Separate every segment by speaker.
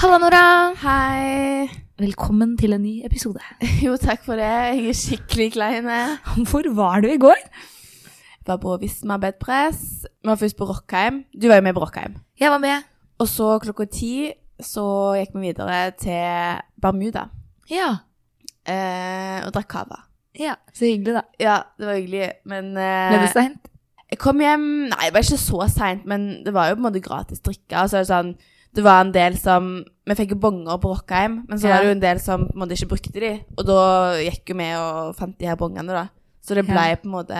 Speaker 1: Halla, Nora!
Speaker 2: Hei.
Speaker 1: Velkommen til en ny episode.
Speaker 2: Jo, takk for det. Jeg er skikkelig klein. jeg.
Speaker 1: Hvor var du i går?
Speaker 2: Var på Visma Bedpress. Vi var først på Rockheim. Du var jo med på Rockheim.
Speaker 1: Jeg var med.
Speaker 2: Og så klokka ti så gikk vi videre til Bermuda
Speaker 1: Ja.
Speaker 2: eh, og drakk cava.
Speaker 1: ja. Så hyggelig, da.
Speaker 2: Ja, det var hyggelig, men eh,
Speaker 1: Ble det seint?
Speaker 2: Jeg kom hjem Nei, det var ikke så seint, men det var jo på en måte gratis drikke. Altså, det, er sånn, det var en del som Vi fikk jo bonger på Rockheim, men så
Speaker 1: Ja.
Speaker 2: var det jo en del som på en måte ikke brukte de. Og da gikk jo vi og fant de her bongene, da. Så det ble
Speaker 1: Ja.
Speaker 2: på en måte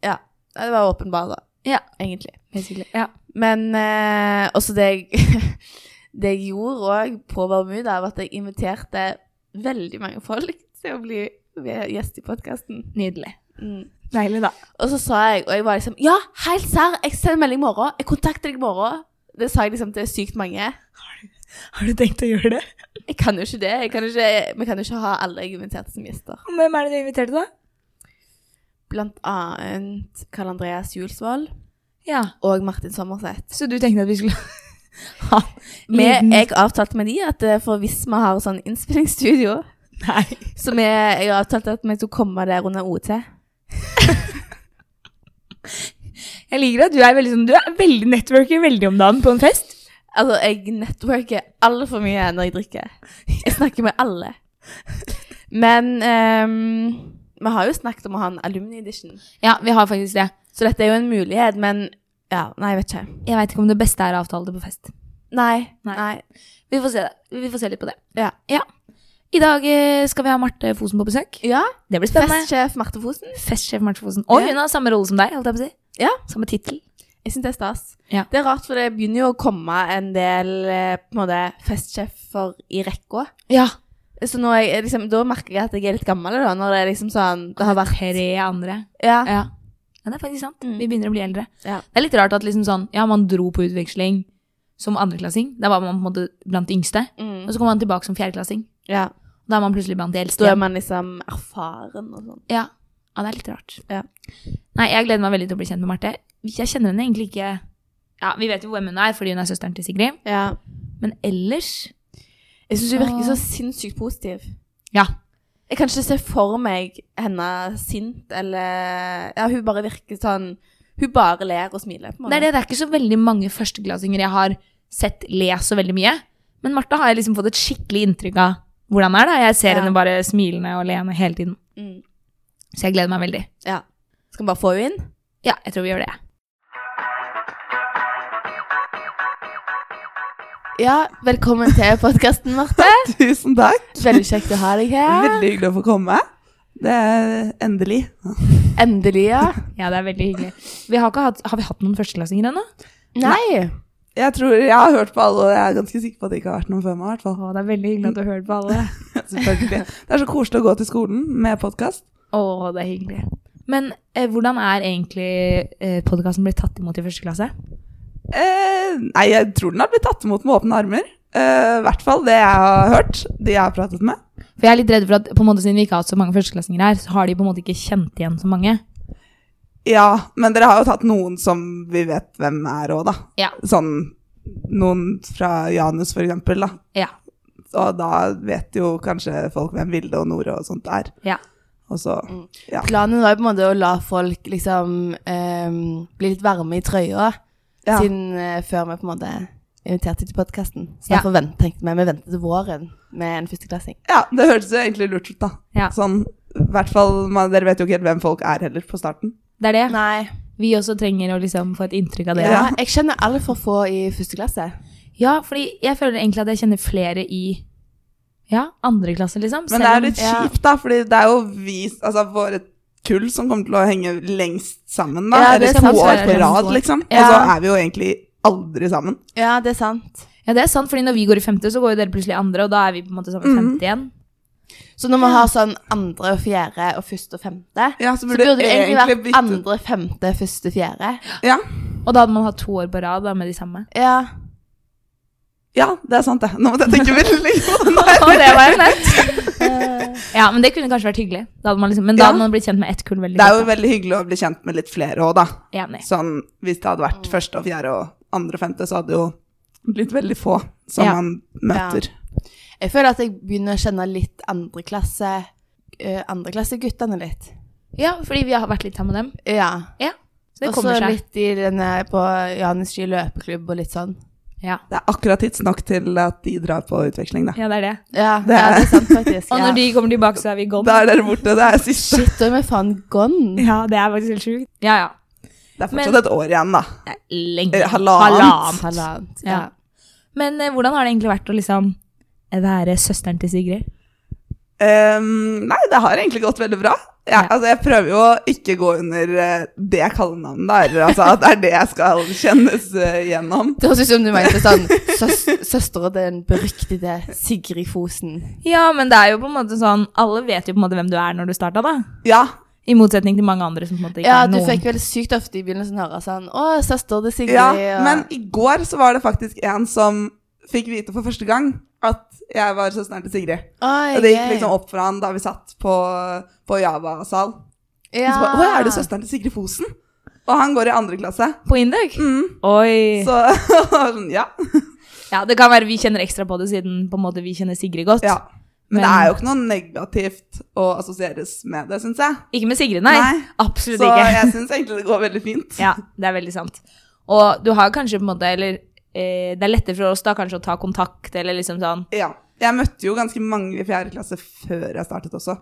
Speaker 2: Ja. Det var åpenbart, da.
Speaker 1: Ja.
Speaker 2: Egentlig.
Speaker 1: Basically. Ja.
Speaker 2: Men eh, også det jeg, det jeg gjorde òg på Bermuda, var at jeg inviterte veldig mange folk til å bli gjest i podkasten.
Speaker 1: Nydelig.
Speaker 2: Mm.
Speaker 1: Deilig, da.
Speaker 2: Og så sa jeg, og jeg var liksom Ja, helt serr, jeg sender melding i morgen. Jeg kontakter deg i morgen. Det sa jeg liksom til sykt mange.
Speaker 1: Har du tenkt å gjøre det?
Speaker 2: Jeg kan jo ikke det. Jeg kan jo ikke, vi kan jo ikke ha alle jeg inviterte som gjester.
Speaker 1: Hvem er det du inviterte, da?
Speaker 2: Blant annet Karl Andreas Julsvold
Speaker 1: Ja.
Speaker 2: og Martin Sommerseth.
Speaker 1: Så du tenkte at vi skulle ha
Speaker 2: Vi,
Speaker 1: Liten-
Speaker 2: jeg avtalte med de at eh, for hvis vi har sånn innspillingsstudio
Speaker 1: Nei.
Speaker 2: Så vi, jeg avtalte at vi skulle komme der under OT.
Speaker 1: Jeg liker at du er veldig sånn Du er veldig networker veldig om dagen på en fest.
Speaker 2: Altså, jeg networker altfor mye når jeg drikker. Jeg snakker med alle. Men ehm, vi har jo snakket om å ha en alumni edition.
Speaker 1: Ja, vi har faktisk det.
Speaker 2: Så dette er jo en mulighet, men ja, nei, jeg vet ikke.
Speaker 1: Jeg veit ikke om det beste er å avtale det på fest.
Speaker 2: Nei,
Speaker 1: Nei.
Speaker 2: nei.
Speaker 1: Vi får se, det. Vi får se litt på det.
Speaker 2: Ja.
Speaker 1: I dag eh, skal vi ha Marte Fosen på besøk.
Speaker 2: Ja,
Speaker 1: Det blir spennende.
Speaker 2: festsjef Marte Fosen.
Speaker 1: Festsjef Marte Fosen. Og
Speaker 2: Ja.
Speaker 1: hun har samme rolle som deg, holdt jeg på å si.
Speaker 2: Ja.
Speaker 1: Samme tittel.
Speaker 2: Jeg syns det er stas.
Speaker 1: Ja.
Speaker 2: Det er rart, for det begynner jo å komme en del eh, på en måte, festsjefer i rekka.
Speaker 1: Ja.
Speaker 2: Så nå er jeg, liksom, da merker jeg at jeg er litt gammel, da, når det er liksom sånn Det har vært
Speaker 1: Tre andre.
Speaker 2: Ja.
Speaker 1: Ja. ja, det er faktisk sant.
Speaker 2: Mm.
Speaker 1: Vi begynner å bli eldre.
Speaker 2: Ja.
Speaker 1: Det er litt rart at liksom sånn, ja, man dro på utveksling som andreklassing. Da var man på en måte blant de yngste. Og
Speaker 2: Mm.
Speaker 1: så kom man tilbake som fjerdeklassing.
Speaker 2: ja.
Speaker 1: Da er man plutselig blant de eldste.
Speaker 2: Da er
Speaker 1: igjen.
Speaker 2: man liksom erfaren og sånn.
Speaker 1: Ja. ja, det er litt rart.
Speaker 2: Ja.
Speaker 1: Nei, jeg gleder meg veldig til å bli kjent med Marte. Jeg kjenner henne egentlig ikke Ja, vi vet jo hvem hun er, fordi hun er søsteren til Sigrid.
Speaker 2: Ja.
Speaker 1: Men ellers
Speaker 2: Jeg syns hun virker
Speaker 1: Så-
Speaker 2: så sinnssykt positiv.
Speaker 1: Ja.
Speaker 2: Jeg kan ikke se for meg henne sint eller Ja, hun bare virker sånn Hun bare ler og smiler, på en
Speaker 1: Det er, det, det er ikke så veldig mange førsteklassinger jeg har sett le så veldig mye. Men Martha har jeg liksom fått et skikkelig inntrykk av hvordan det er. da. Jeg ser
Speaker 2: Ja.
Speaker 1: henne bare smilende og leende hele tiden.
Speaker 2: Mm.
Speaker 1: Så jeg gleder meg veldig.
Speaker 2: Ja. Skal vi bare få henne inn?
Speaker 1: Ja, jeg tror vi gjør det.
Speaker 2: Ja, velkommen til podkasten, Marte.
Speaker 3: Tusen takk.
Speaker 2: Veldig kjekt å ha deg her.
Speaker 3: Veldig hyggelig å få komme. Det er endelig.
Speaker 2: Endelig, ja.
Speaker 1: Ja, det er veldig hyggelig. Vi har, ikke hatt, har vi hatt noen førsteklassinger ennå?
Speaker 2: Nei.
Speaker 3: Jeg tror jeg har hørt på alle, og jeg er ganske sikker på at det ikke har vært noen før meg. i hvert fall.
Speaker 1: Å, det er veldig hyggelig at du hører på alle.
Speaker 3: Selvfølgelig. Det er så koselig å gå til skolen med podkast.
Speaker 1: Å, det er hyggelig. Men eh, hvordan er egentlig eh, podkasten blitt tatt imot i første klasse?
Speaker 3: Eh, nei, jeg tror den har blitt tatt imot med åpne armer. Eh, I hvert fall det jeg har hørt, de jeg har pratet med.
Speaker 1: For jeg er litt redd for at på en måte siden vi ikke har hatt så mange førsteklassinger her, så har de på en måte ikke kjent igjen så mange.
Speaker 3: Ja, men dere har jo tatt noen som vi vet hvem er òg, da.
Speaker 1: Ja.
Speaker 3: Sånn noen fra Janus, for eksempel, da.
Speaker 1: Ja.
Speaker 3: Og da vet jo kanskje folk hvem Vilde og Nore og sånt er.
Speaker 1: Ja.
Speaker 3: Og så Ja.
Speaker 2: Planen var jo på en måte å la folk liksom ehm, bli litt varme i trøya
Speaker 3: Ja.
Speaker 2: siden eh, før vi på en måte inviterte til podkasten. Så
Speaker 1: Ja.
Speaker 2: derfor vent, tenkte vi vi venter til våren med en førsteklassing.
Speaker 3: Ja, det høres jo egentlig lurt ut, da.
Speaker 1: Ja.
Speaker 3: Sånn, i hvert fall, man, Dere vet jo ikke helt hvem folk er heller på starten.
Speaker 1: Det er det.
Speaker 2: Nei.
Speaker 1: Vi også trenger å liksom få et inntrykk av det.
Speaker 2: Ja, jeg kjenner altfor få i første klasse.
Speaker 1: Ja, fordi jeg føler egentlig at jeg kjenner flere i ja, andre klasse, liksom.
Speaker 3: Men det er jo
Speaker 1: om-
Speaker 3: litt
Speaker 2: ja.
Speaker 3: kjipt, da, fordi det er jo vi, altså våre kull som kommer til å henge lengst sammen, da.
Speaker 2: Ja, det
Speaker 3: Eller
Speaker 2: er
Speaker 3: to
Speaker 2: sant,
Speaker 3: år
Speaker 1: det er
Speaker 3: på
Speaker 1: det.
Speaker 3: rad, liksom. Og så
Speaker 2: sånn Ja.
Speaker 3: er vi jo egentlig aldri sammen.
Speaker 2: Ja, det er sant.
Speaker 1: Ja, det er sant, fordi når vi går i femte, så går jo dere plutselig i andre, og da er vi på en måte sammen
Speaker 3: Mm.
Speaker 1: i femte igjen.
Speaker 2: Så når vi har sånn andre og fjerde og første og femte,
Speaker 3: Ja, så
Speaker 2: så
Speaker 3: burde,
Speaker 2: burde det egentlig
Speaker 3: egentlig
Speaker 2: vært
Speaker 3: bytte
Speaker 2: andre, femte, første, fjerde.
Speaker 3: Ja.
Speaker 1: Og da hadde man hatt to år på rad da, med de samme.
Speaker 2: Ja.
Speaker 3: ja, det er sant, det. Nå måtte jeg tenke veldig lenge på den der.
Speaker 1: Og det var jo lett! ja, men det kunne kanskje vært hyggelig. Da hadde man liksom, men da
Speaker 3: Ja.
Speaker 1: hadde man blitt kjent med ett kull veldig
Speaker 3: Det er jo
Speaker 1: godt.
Speaker 3: veldig hyggelig å bli kjent med litt flere òg, da.
Speaker 1: da. Enig.
Speaker 2: Mm.
Speaker 3: Sånn hvis det hadde vært første og fjerde og andre og femte, så hadde jo litt veldig få som
Speaker 1: Ja.
Speaker 3: man møter.
Speaker 2: Jeg føler at jeg begynner å kjenne litt andreklasse eh, andreklasseguttene litt.
Speaker 1: Ja, fordi vi har vært litt sammen med dem.
Speaker 2: Ja.
Speaker 1: Så det
Speaker 2: Og så
Speaker 1: kommer seg.
Speaker 2: litt i denne på Janis Ski løpeklubb og litt sånn.
Speaker 1: Ja.
Speaker 3: Det er akkurat tidsnok til at de drar på utveksling, da.
Speaker 1: ja, det er det.
Speaker 2: Ja,
Speaker 3: Det
Speaker 2: det, ja,
Speaker 3: er-
Speaker 2: det er sant faktisk.
Speaker 1: Og
Speaker 2: Ja.
Speaker 1: når de kommer tilbake, så er vi gone.
Speaker 3: Da er dere borte. Det er siste.
Speaker 2: Shit, da er vi faen gone.
Speaker 1: Ja, det er faktisk helt sjukt. Ja, ja.
Speaker 3: Det er
Speaker 1: Men-
Speaker 3: fortsatt et år igjen, da.
Speaker 1: Det er lenge.
Speaker 3: Eh, halvannet.
Speaker 2: Halvannet.
Speaker 1: Ja. Men eh, hvordan har det egentlig vært å liksom være søsteren til Sigrid?
Speaker 3: Ehm, nei, det har egentlig gått veldig bra. Jeg,
Speaker 1: Ja.
Speaker 3: altså, jeg prøver jo å ikke gå under eh, det kallenavnet, da. Eller altså, at det er det jeg skal kjennes eh, gjennom.
Speaker 2: Det høres ut som du mente sånn søs Søstera til den beryktede Sigrid Fosen.
Speaker 1: Ja, men det er jo på en måte sånn Alle vet jo på en måte hvem du er når du starta, da.
Speaker 3: Ja,
Speaker 1: I motsetning til mange andre som på en måte ikke
Speaker 2: Ja,
Speaker 1: er
Speaker 2: du
Speaker 1: noen.
Speaker 2: fikk vel sykt ofte i begynnelsen høre sånn Å, søster til Sigrid.
Speaker 3: ja,
Speaker 2: og-
Speaker 3: men i går så var det faktisk en som fikk vite for første gang at jeg var søsteren til Sigrid.
Speaker 2: Oi,
Speaker 3: Og det gikk
Speaker 2: gøy.
Speaker 3: liksom opp for han da vi satt på, på Java-sal. Og
Speaker 2: Ja.
Speaker 3: så bare, Å, er du søsteren til Sigrid Fosen? Og han går i andre klasse.
Speaker 1: På Indøk?
Speaker 3: Mm.
Speaker 1: Oi.
Speaker 3: Så sånn, ja.
Speaker 1: Ja, det kan være vi kjenner ekstra på det, siden på en måte vi kjenner Sigrid godt.
Speaker 3: ja. Men,
Speaker 1: Men-
Speaker 3: det er jo ikke noe negativt å assosieres med det, syns jeg.
Speaker 1: Ikke med Sigrid, nei.
Speaker 3: Nei.
Speaker 1: Absolutt
Speaker 3: Så
Speaker 1: ikke.
Speaker 3: jeg syns egentlig det går veldig fint.
Speaker 1: Ja, det er veldig sant. Og du har kanskje på en måte, eller eh, det er lettere for oss da kanskje å ta kontakt, eller liksom sånn
Speaker 3: Ja. Jeg møtte jo ganske mange i fjerde klasse før jeg startet også.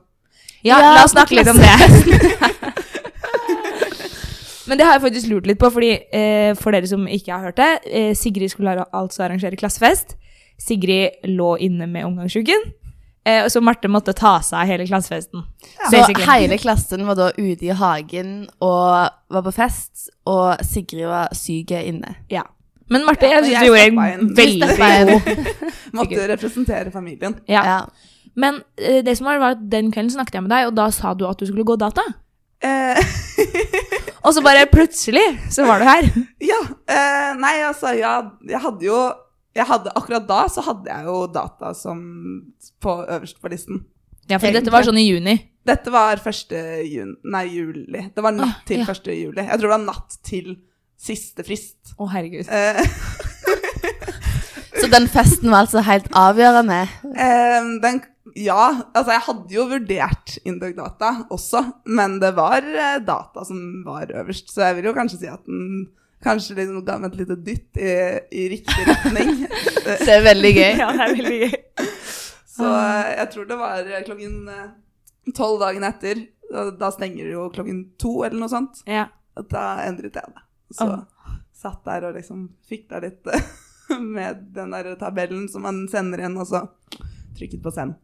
Speaker 1: Ja, liksom.
Speaker 2: Ja,
Speaker 1: la oss snakke litt om det.
Speaker 2: klasse.
Speaker 1: Men det har jeg faktisk lurt litt på, fordi eh, for dere som ikke har hørt det, eh, Sigrid skulle ar- altså arrangere klassefest. Sigrid lå inne med omgangssjuken, eh, og så Marte måtte ta seg av hele klassefesten.
Speaker 2: Så
Speaker 1: Basically.
Speaker 2: hele klassen var da ute i hagen og var på fest, og Sigrid var syk inne.
Speaker 1: Ja. Men Marte, jeg
Speaker 3: og
Speaker 1: syns
Speaker 3: jeg
Speaker 1: du gjorde
Speaker 3: steppa
Speaker 1: en
Speaker 3: inn.
Speaker 1: veldig
Speaker 2: Steppa inn.
Speaker 1: god
Speaker 3: Måtte representere familien.
Speaker 1: ja.
Speaker 2: Ja.
Speaker 1: Men eh, det som var, var at den kvelden snakket jeg med deg, og da sa du at du skulle gå data.
Speaker 3: Eh,
Speaker 1: Og så bare plutselig så var du her.
Speaker 3: ja. Eh, nei, altså, jeg, jeg hadde jo jeg hadde, Akkurat da så hadde jeg jo data som på øverst på listen.
Speaker 1: Ja, for dette var sånn i juni.
Speaker 3: Dette var 1. Jun, nei, juli. Det var
Speaker 1: Åh,
Speaker 3: natt til
Speaker 1: ja.
Speaker 3: 1. juli. Jeg tror det var natt til siste frist.
Speaker 1: Å, herregud.
Speaker 3: Eh,
Speaker 2: Så den festen var altså helt avgjørende.
Speaker 3: eh, den, ja, altså jeg hadde jo vurdert Indog-data også, men det var eh, data som var øverst, så jeg vil jo kanskje si at den kanskje liksom ga meg et lite dytt i, i riktig retning.
Speaker 2: Det er veldig gøy.
Speaker 1: Ja, det er veldig gøy.
Speaker 3: så eh, jeg tror det var eh, klokken eh, tolv dagen etter. Da, da stenger det jo klokken to eller noe sånt.
Speaker 1: Ja.
Speaker 3: At Da endret jeg det. Så
Speaker 1: Åh.
Speaker 3: satt der og liksom fikla litt eh, med den der tabellen som man sender inn, og så trykket på send.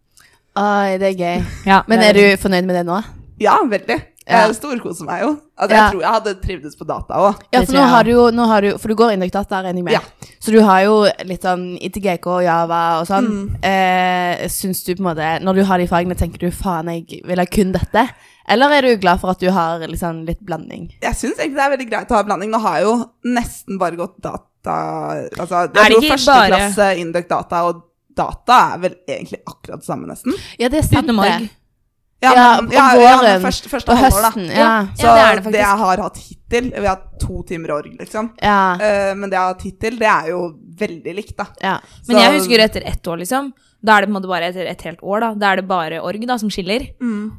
Speaker 2: Oi, det er gøy.
Speaker 1: Ja,
Speaker 2: Men
Speaker 1: det
Speaker 2: er du fornøyd med det nå?
Speaker 3: Ja, veldig.
Speaker 2: Ja.
Speaker 3: Jeg storkoser meg jo. Altså,
Speaker 2: Ja.
Speaker 3: Jeg tror jeg hadde trivdes på data òg.
Speaker 2: Ja,
Speaker 1: Det
Speaker 2: for
Speaker 1: tror
Speaker 2: nå
Speaker 1: jeg
Speaker 2: har du jo nå har du, For du går Indukdata, regner jeg med.
Speaker 3: Ja.
Speaker 2: Så du har jo litt sånn ITGK og Java og sånn. Eh, syns du på en måte Når du har de fagene, tenker du faen, jeg vil ha kun dette? Eller er du glad for at du har liksom litt blanding?
Speaker 3: Jeg syns egentlig det er veldig greit å ha blanding. Nå har jeg jo nesten bare gått data altså, Jeg
Speaker 1: Er det
Speaker 3: tror
Speaker 1: ikke
Speaker 3: første
Speaker 1: bare-
Speaker 3: klasse Induc data og data er vel egentlig akkurat det samme, nesten.
Speaker 2: Ja, det er sant,
Speaker 1: Utenom
Speaker 2: det.
Speaker 1: org.
Speaker 2: Ja,
Speaker 3: men-
Speaker 2: om
Speaker 3: ja, men
Speaker 2: våren,
Speaker 3: først, første
Speaker 2: På
Speaker 3: halvår, da.
Speaker 2: høsten, ja.
Speaker 3: Så
Speaker 1: Ja, det
Speaker 3: det,
Speaker 1: er det faktisk.
Speaker 3: jeg har hatt hittil Vi har hatt to timer org, liksom.
Speaker 2: Ja.
Speaker 3: Eh, men det jeg har hatt hittil, det er jo veldig likt, da.
Speaker 2: ja.
Speaker 1: Men
Speaker 3: Så-
Speaker 1: jeg husker etter ett år, liksom. Da er det på en måte bare etter et helt år, da. Da er det bare org da, som skiller.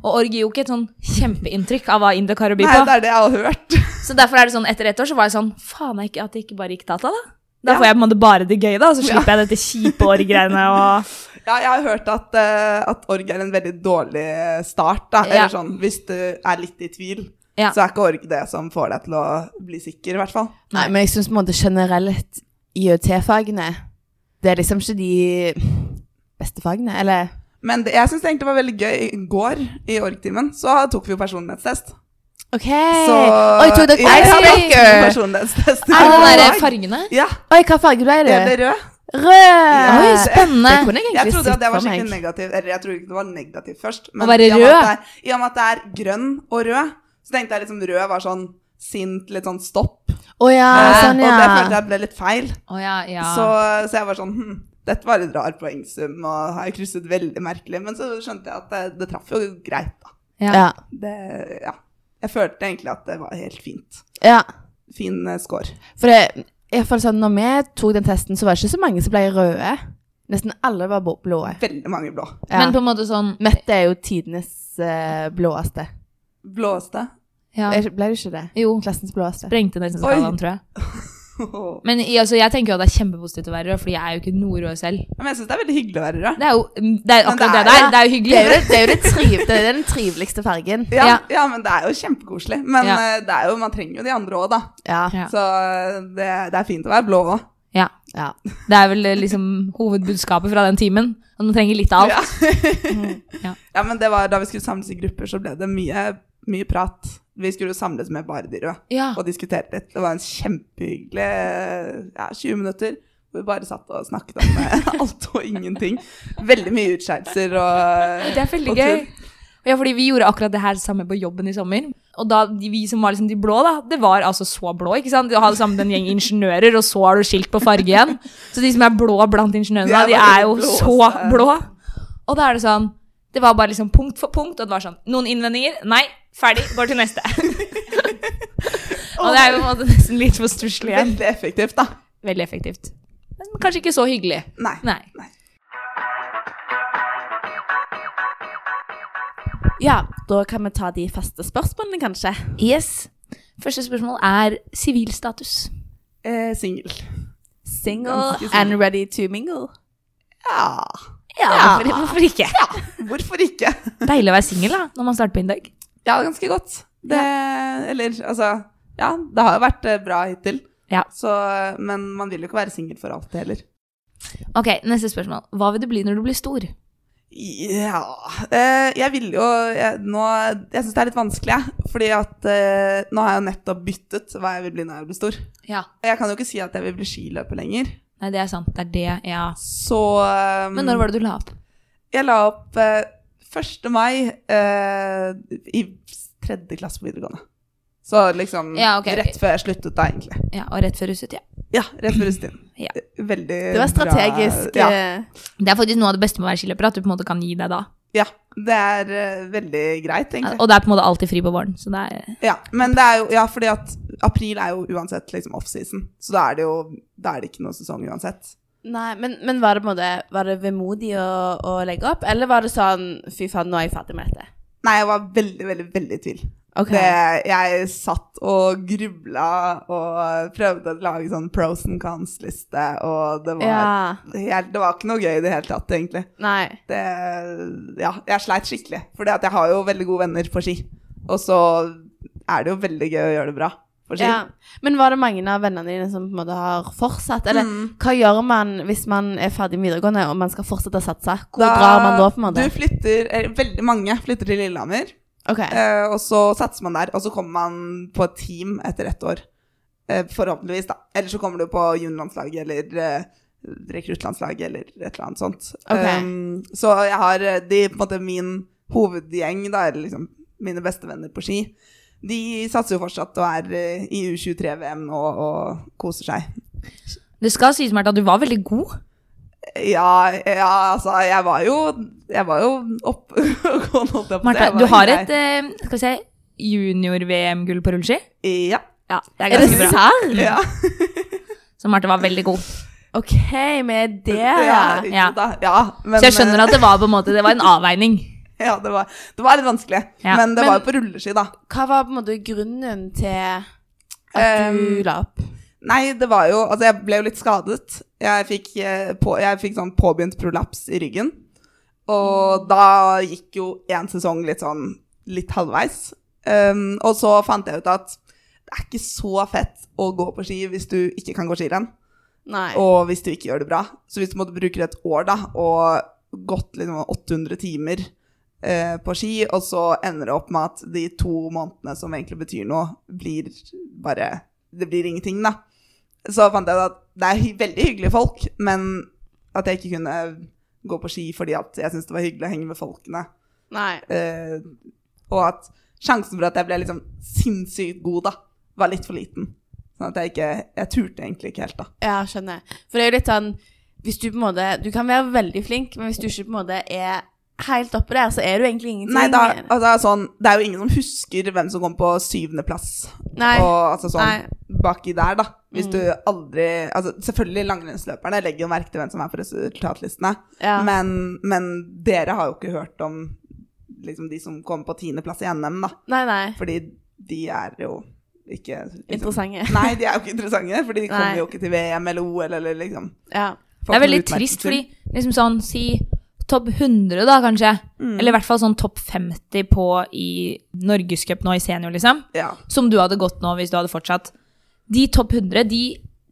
Speaker 1: Og org gir jo ikke et sånn kjempeinntrykk av hva Indok har å by
Speaker 3: Mm. Nei, det
Speaker 1: på.
Speaker 3: er det jeg har hørt.
Speaker 1: Så derfor er det sånn, etter ett år så var jeg sånn, faen jeg ikke at jeg ikke bare gikk data, da. Da får jeg på en måte bare det gøye, da, så slipper jeg dette kjipe org-greiene og
Speaker 3: Ja, jeg har hørt at, eh, at org er en veldig dårlig eh, start. Da.
Speaker 1: Ja.
Speaker 3: Eller sånn, hvis du er litt i tvil,
Speaker 1: Ja.
Speaker 3: så er ikke org det som får deg til å bli sikker, i hvert fall.
Speaker 2: Nei, men jeg syns på en måte generelt IOT-fagene Det er liksom ikke de beste fagene, eller?
Speaker 3: Men det, jeg syns egentlig det var veldig gøy. I går i org-timen så tok vi jo personlighetstest.
Speaker 2: OK!
Speaker 3: Så
Speaker 2: Oi, tok dere
Speaker 3: jeg har
Speaker 2: Oi,
Speaker 3: tatt to personlighetstester.
Speaker 1: Er det
Speaker 3: i
Speaker 1: den
Speaker 3: dag.
Speaker 1: derre fargene?
Speaker 3: Ja,
Speaker 2: Oi, hva farge ble
Speaker 3: det ble
Speaker 2: du?
Speaker 3: rød.
Speaker 2: Rød!
Speaker 1: Oi,
Speaker 2: Det
Speaker 1: spennende.
Speaker 2: kunne jeg
Speaker 3: Jeg
Speaker 2: egentlig
Speaker 3: trodde at
Speaker 2: sett
Speaker 3: Eh, det var
Speaker 2: for
Speaker 3: skikkelig
Speaker 2: meg.
Speaker 3: negativt. Eller jeg trodde ikke det var negativt først.
Speaker 1: være
Speaker 3: i og med at
Speaker 1: rød?
Speaker 3: det er- I og med at det er grønn og rød, så tenkte jeg liksom rød var sånn sint, litt sånn stopp.
Speaker 2: Å ja,
Speaker 3: Eh,
Speaker 2: sånn,
Speaker 3: Og det følte
Speaker 2: ja.
Speaker 3: jeg ble litt feil.
Speaker 1: Å ja, ja.
Speaker 3: Så, så jeg var sånn hm, Dette var et rar poengsum, og har jeg krysset veldig merkelig. Men så skjønte jeg at det, det traff jo greit, da.
Speaker 2: Ja.
Speaker 3: Det, ja. Jeg følte egentlig at det var helt fint.
Speaker 2: ja.
Speaker 3: Fin eh, score.
Speaker 2: For det, i hvert fall sånn, når vi tok den testen, så var det ikke så mange som ble røde. Nesten alle var bo- blå.
Speaker 3: Veldig mange blå.
Speaker 2: Ja.
Speaker 1: Men på en måte sånn
Speaker 2: Mette er jo tidenes eh, blåeste.
Speaker 3: Blåeste.
Speaker 1: ja.
Speaker 2: Er- Ble du ikke det?
Speaker 1: Jo,
Speaker 2: Klassens blåeste.
Speaker 1: sprengte nesten skalaen, tror jeg. Men i- altså, jeg tenker jo at det er kjempepositivt å være rød, fordi jeg er jo ikke noe rød selv.
Speaker 3: Men jeg syns det er veldig hyggelig å være rød.
Speaker 1: Det er jo mm, det er
Speaker 3: Men det
Speaker 1: akkurat
Speaker 3: er-
Speaker 1: det der. Det er jo
Speaker 2: Det er jo,
Speaker 1: hyggelig.
Speaker 2: det, det er jo det triv, det er den triveligste fargen.
Speaker 3: Ja,
Speaker 1: Ja.
Speaker 3: ja. men det er jo kjempekoselig. Men
Speaker 1: Ja.
Speaker 3: eh, det er jo, man trenger jo de andre òg, da.
Speaker 2: Ja.
Speaker 1: Ja.
Speaker 3: Så eh, det, det er fint å være blå òg.
Speaker 1: Ja.
Speaker 2: ja.
Speaker 1: Det er vel eh, liksom hovedbudskapet fra den timen. At man trenger litt av alt.
Speaker 3: Ja.
Speaker 1: ja.
Speaker 3: ja, men det var da vi skulle samles i grupper, så ble det mye, mye prat. Vi skulle jo samles med bare de røde
Speaker 1: Ja.
Speaker 3: og diskutere litt. Det var en kjempehyggelig ja, 20 minutter hvor vi bare satt og snakket om eh, alt og ingenting. Veldig mye utskeielser og
Speaker 1: Det er veldig
Speaker 3: og
Speaker 1: gøy.
Speaker 3: tull.
Speaker 1: Ja, fordi vi gjorde akkurat det her samme på jobben i sommer. Og da, de, vi som var liksom de blå, da, det var altså så blå, ikke sant? Du hadde sammen en gjeng ingeniører, og så har du skilt på farge igjen. Så de som er blå blant ingeniørene,
Speaker 3: De er
Speaker 1: de
Speaker 3: bare altså.
Speaker 1: er jo
Speaker 3: de
Speaker 1: så
Speaker 3: blåeste.
Speaker 1: blå. Og da er det sånn, det var bare liksom punkt for punkt, og det var sånn, noen innvendinger? Nei, ferdig, går til neste. og det er jo på en måte nesten litt for stusslig igjen.
Speaker 3: Veldig effektivt, da.
Speaker 1: Veldig effektivt. Men kanskje ikke så hyggelig.
Speaker 3: Nei.
Speaker 1: Nei.
Speaker 2: ja, da kan vi ta de faste spørsmålene, kanskje.
Speaker 1: Yes. Første spørsmål er sivilstatus.
Speaker 3: Eh, Singel.
Speaker 2: Single
Speaker 3: Ganske single.
Speaker 2: and ready to mingle.
Speaker 3: Ja,
Speaker 1: Ja, Hvorfor, hvorfor ikke?
Speaker 3: hvorfor ikke?
Speaker 1: Deilig å være singel da, når man starter på Indøg.
Speaker 3: Ja, det er ganske godt. Det, Eller altså Ja, det har jo vært eh, bra hittil.
Speaker 1: Ja.
Speaker 3: Så, eh, men man vil jo ikke være singel for alltid heller.
Speaker 1: Ok, neste spørsmål. Hva vil du bli når du blir stor?
Speaker 3: Ja eh, Jeg vil jo Jeg, nå- jeg syns det er litt vanskelig, jeg. Fordi at eh, nå har jeg jo nettopp byttet hva jeg vil bli når jeg blir stor.
Speaker 1: Ja.
Speaker 3: Jeg kan jo ikke si at jeg vil bli skiløper lenger.
Speaker 1: Nei, det er sant. Det er det, ja.
Speaker 3: Så um,
Speaker 1: Men når var det du la opp?
Speaker 3: Jeg la opp eh, 1. mai eh, i tredje klasse på videregående. Så liksom
Speaker 1: Ja, ok.
Speaker 3: rett før jeg sluttet da, egentlig.
Speaker 1: Ja, og rett før huset, ja.
Speaker 3: Ja, rett før russetiden.
Speaker 1: Ja.
Speaker 3: Veldig
Speaker 2: Det var strategisk.
Speaker 3: Bra. Ja.
Speaker 2: eh,
Speaker 1: Det er faktisk noe av det beste med å være skiløper, at du på en måte kan gi deg da.
Speaker 3: ja. Det er eh, veldig greit, egentlig.
Speaker 1: Og det er på en måte alltid fri på våren, så det er...
Speaker 3: Ja, men det er jo Ja, fordi at april er jo uansett liksom off-season, så da er det jo Da er det ikke noen sesong uansett.
Speaker 2: Nei, men, men var det på en måte Var det vemodig å, å legge opp, eller var det sånn Fy faen, nå er jeg ferdig med dette.
Speaker 3: Nei, jeg var veldig, veldig, veldig i tvil.
Speaker 2: Ok.
Speaker 3: Det, jeg satt og grubla og prøvde å lage sånn pros and cons-liste, og det var,
Speaker 2: Ja.
Speaker 3: helt, det var ikke noe gøy i det hele tatt, egentlig.
Speaker 2: Nei.
Speaker 3: Det, ja, jeg sleit skikkelig, for jeg har jo veldig gode venner på ski. Og så er det jo veldig gøy å gjøre det bra på ski.
Speaker 2: Ja. Men var det mange av vennene dine som på en måte har fortsatt? Eller
Speaker 3: Mm.
Speaker 2: hva gjør man hvis man er ferdig med videregående og man skal fortsette å satse? Hvor
Speaker 3: Da-
Speaker 2: drar man da, på en måte?
Speaker 3: Du flytter, eh, veldig mange flytter til Lillehammer,
Speaker 2: Ok.
Speaker 3: eh, og så satser man der, og så kommer man på et team etter ett år. Eh, forhåpentligvis, da. Eller så kommer du på juniorlandslaget eller eh, rekruttlandslaget eller et eller annet sånt.
Speaker 2: Ok.
Speaker 3: Um, så jeg har eh, de, på en måte min hovedgjeng, da, eller liksom mine bestevenner på ski. De satser jo fortsatt og er eh, i U23-VM nå og koser seg.
Speaker 1: Det skal sies, Martha, at du var veldig god.
Speaker 3: Ja, ja altså, jeg var jo Jeg var jo opp holdt jeg på å si.
Speaker 1: Martha,
Speaker 3: Jeg var
Speaker 1: du har
Speaker 3: grei.
Speaker 1: et, eh, skal vi si, junior-VM-gull på rullski.
Speaker 3: Ja.
Speaker 1: Ja, det er
Speaker 2: Er
Speaker 1: ganske
Speaker 2: det
Speaker 1: bra.
Speaker 2: serr?
Speaker 3: Ja,
Speaker 1: Så Martha var veldig god.
Speaker 2: OK, vi er der, ja.
Speaker 3: ja,
Speaker 1: ja.
Speaker 3: jo da, ja. Men,
Speaker 1: Så jeg skjønner at det var på en måte, det var en avveining.
Speaker 3: eh, Ja, det var, det var litt vanskelig.
Speaker 1: Ja.
Speaker 3: Men det
Speaker 2: Men-
Speaker 3: var jo på rulleski, da.
Speaker 2: Hva var på en måte grunnen til at du
Speaker 3: Um,
Speaker 2: la opp?
Speaker 3: Nei, det var jo Altså, jeg ble jo litt skadet. Jeg fikk, eh, på, jeg fikk sånn påbegynt prolaps i ryggen. Og da gikk jo én sesong litt sånn litt halvveis. Um, og så fant jeg ut at det er ikke så fett å gå på ski hvis du ikke kan gå skirenn.
Speaker 2: Nei.
Speaker 3: Og hvis du ikke gjør det bra. Så hvis du måtte bruke et år da, og gått liksom 800 timer eh, på ski, og så ender det opp med at de to månedene som egentlig betyr noe, blir bare Det blir ingenting, da. Så fant jeg ut at det er hy- veldig hyggelige folk, men at jeg ikke kunne gå på ski fordi at jeg syntes det var hyggelig å henge med folkene.
Speaker 2: Nei.
Speaker 3: Eh, og at sjansen for at jeg ble liksom sinnssykt god, da, var litt for liten. Sånn at jeg ikke Jeg turte egentlig ikke helt, da.
Speaker 2: Ja, skjønner. For det er jo litt sånn hvis du, på en måte, du kan være veldig flink, men hvis du ikke på en måte er helt oppe der, så er du egentlig ingenting.
Speaker 3: Nei, da, altså, det er sånn, det er jo ingen som husker hvem som kom på syvendeplass.
Speaker 2: Nei.
Speaker 3: Og altså sånn
Speaker 2: Nei.
Speaker 3: baki der, da. Hvis
Speaker 1: Mm.
Speaker 3: du aldri altså Selvfølgelig langrennsløperne legger jo merke til hvem som er på resultatlistene,
Speaker 2: Ja.
Speaker 3: men, men dere har jo ikke hørt om liksom, de som kom på tiendeplass i NM, da.
Speaker 2: Nei, nei.
Speaker 3: Fordi de er jo ikke liksom,
Speaker 2: Interessante.
Speaker 3: Nei, de er jo ikke interessante, fordi de
Speaker 2: Nei.
Speaker 3: kommer jo ikke til VM eller OL eller liksom
Speaker 2: Ja.
Speaker 1: Det er veldig trist, fordi liksom sånn si topp 100, da, kanskje.
Speaker 3: Mm.
Speaker 1: Eller i hvert fall sånn topp 50 på i Norgescup nå i senior, liksom.
Speaker 3: Ja.
Speaker 1: Som du hadde gått nå hvis du hadde fortsatt. De topp 100, de,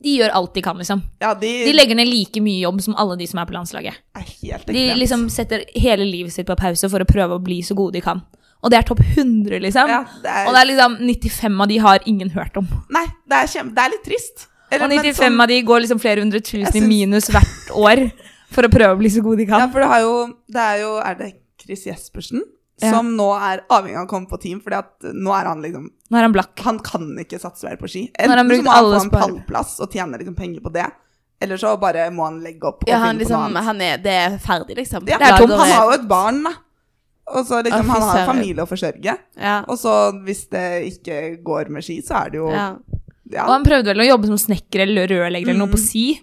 Speaker 1: de gjør alt de kan, liksom.
Speaker 3: ja de,
Speaker 1: De legger ned like mye jobb som alle de som er på landslaget.
Speaker 3: er helt
Speaker 1: De
Speaker 3: ekstremt.
Speaker 1: liksom setter hele livet sitt på pause for å prøve å bli så gode de kan. Og det er topp 100, liksom.
Speaker 3: Ja, det er-
Speaker 1: Og det er liksom 95 av de har ingen hørt om.
Speaker 3: Nei, det er, kjempe, det er litt trist.
Speaker 1: Og
Speaker 3: Eller, men
Speaker 1: 95
Speaker 3: sånn-
Speaker 1: av de går liksom flere hundre tusen
Speaker 3: Jeg
Speaker 1: i
Speaker 3: syns-
Speaker 1: minus hvert år for å prøve å bli så gode de kan.
Speaker 3: Ja, for det, har jo, det er jo Er det Chris Jespersen?
Speaker 1: Ja.
Speaker 3: Som nå er avhengig av å komme på team, fordi at nå er han liksom
Speaker 1: Nå er han blakk.
Speaker 3: Han kan ikke satse mer på ski.
Speaker 1: har han
Speaker 3: Enten så
Speaker 1: brukt
Speaker 3: må han
Speaker 1: alle
Speaker 3: få en
Speaker 1: spare-
Speaker 3: pallplass og tjene liksom penger på det, eller så bare må han legge opp og
Speaker 2: ja han
Speaker 3: finne på noe
Speaker 2: liksom,
Speaker 3: annet.
Speaker 2: han er, det er ferdig, liksom.
Speaker 3: Ja,
Speaker 1: Det er tomt.
Speaker 2: Lager-
Speaker 3: Han har jo et barn, da. Og så
Speaker 2: Å,
Speaker 3: liksom,
Speaker 2: fy
Speaker 3: han har
Speaker 2: søren.
Speaker 3: familie å forsørge.
Speaker 2: Ja.
Speaker 3: Og så hvis det ikke går med ski, så er det jo
Speaker 2: ja.
Speaker 3: Ja.
Speaker 1: Og han prøvde vel å jobbe som snekker eller rørlegger eller noe på si.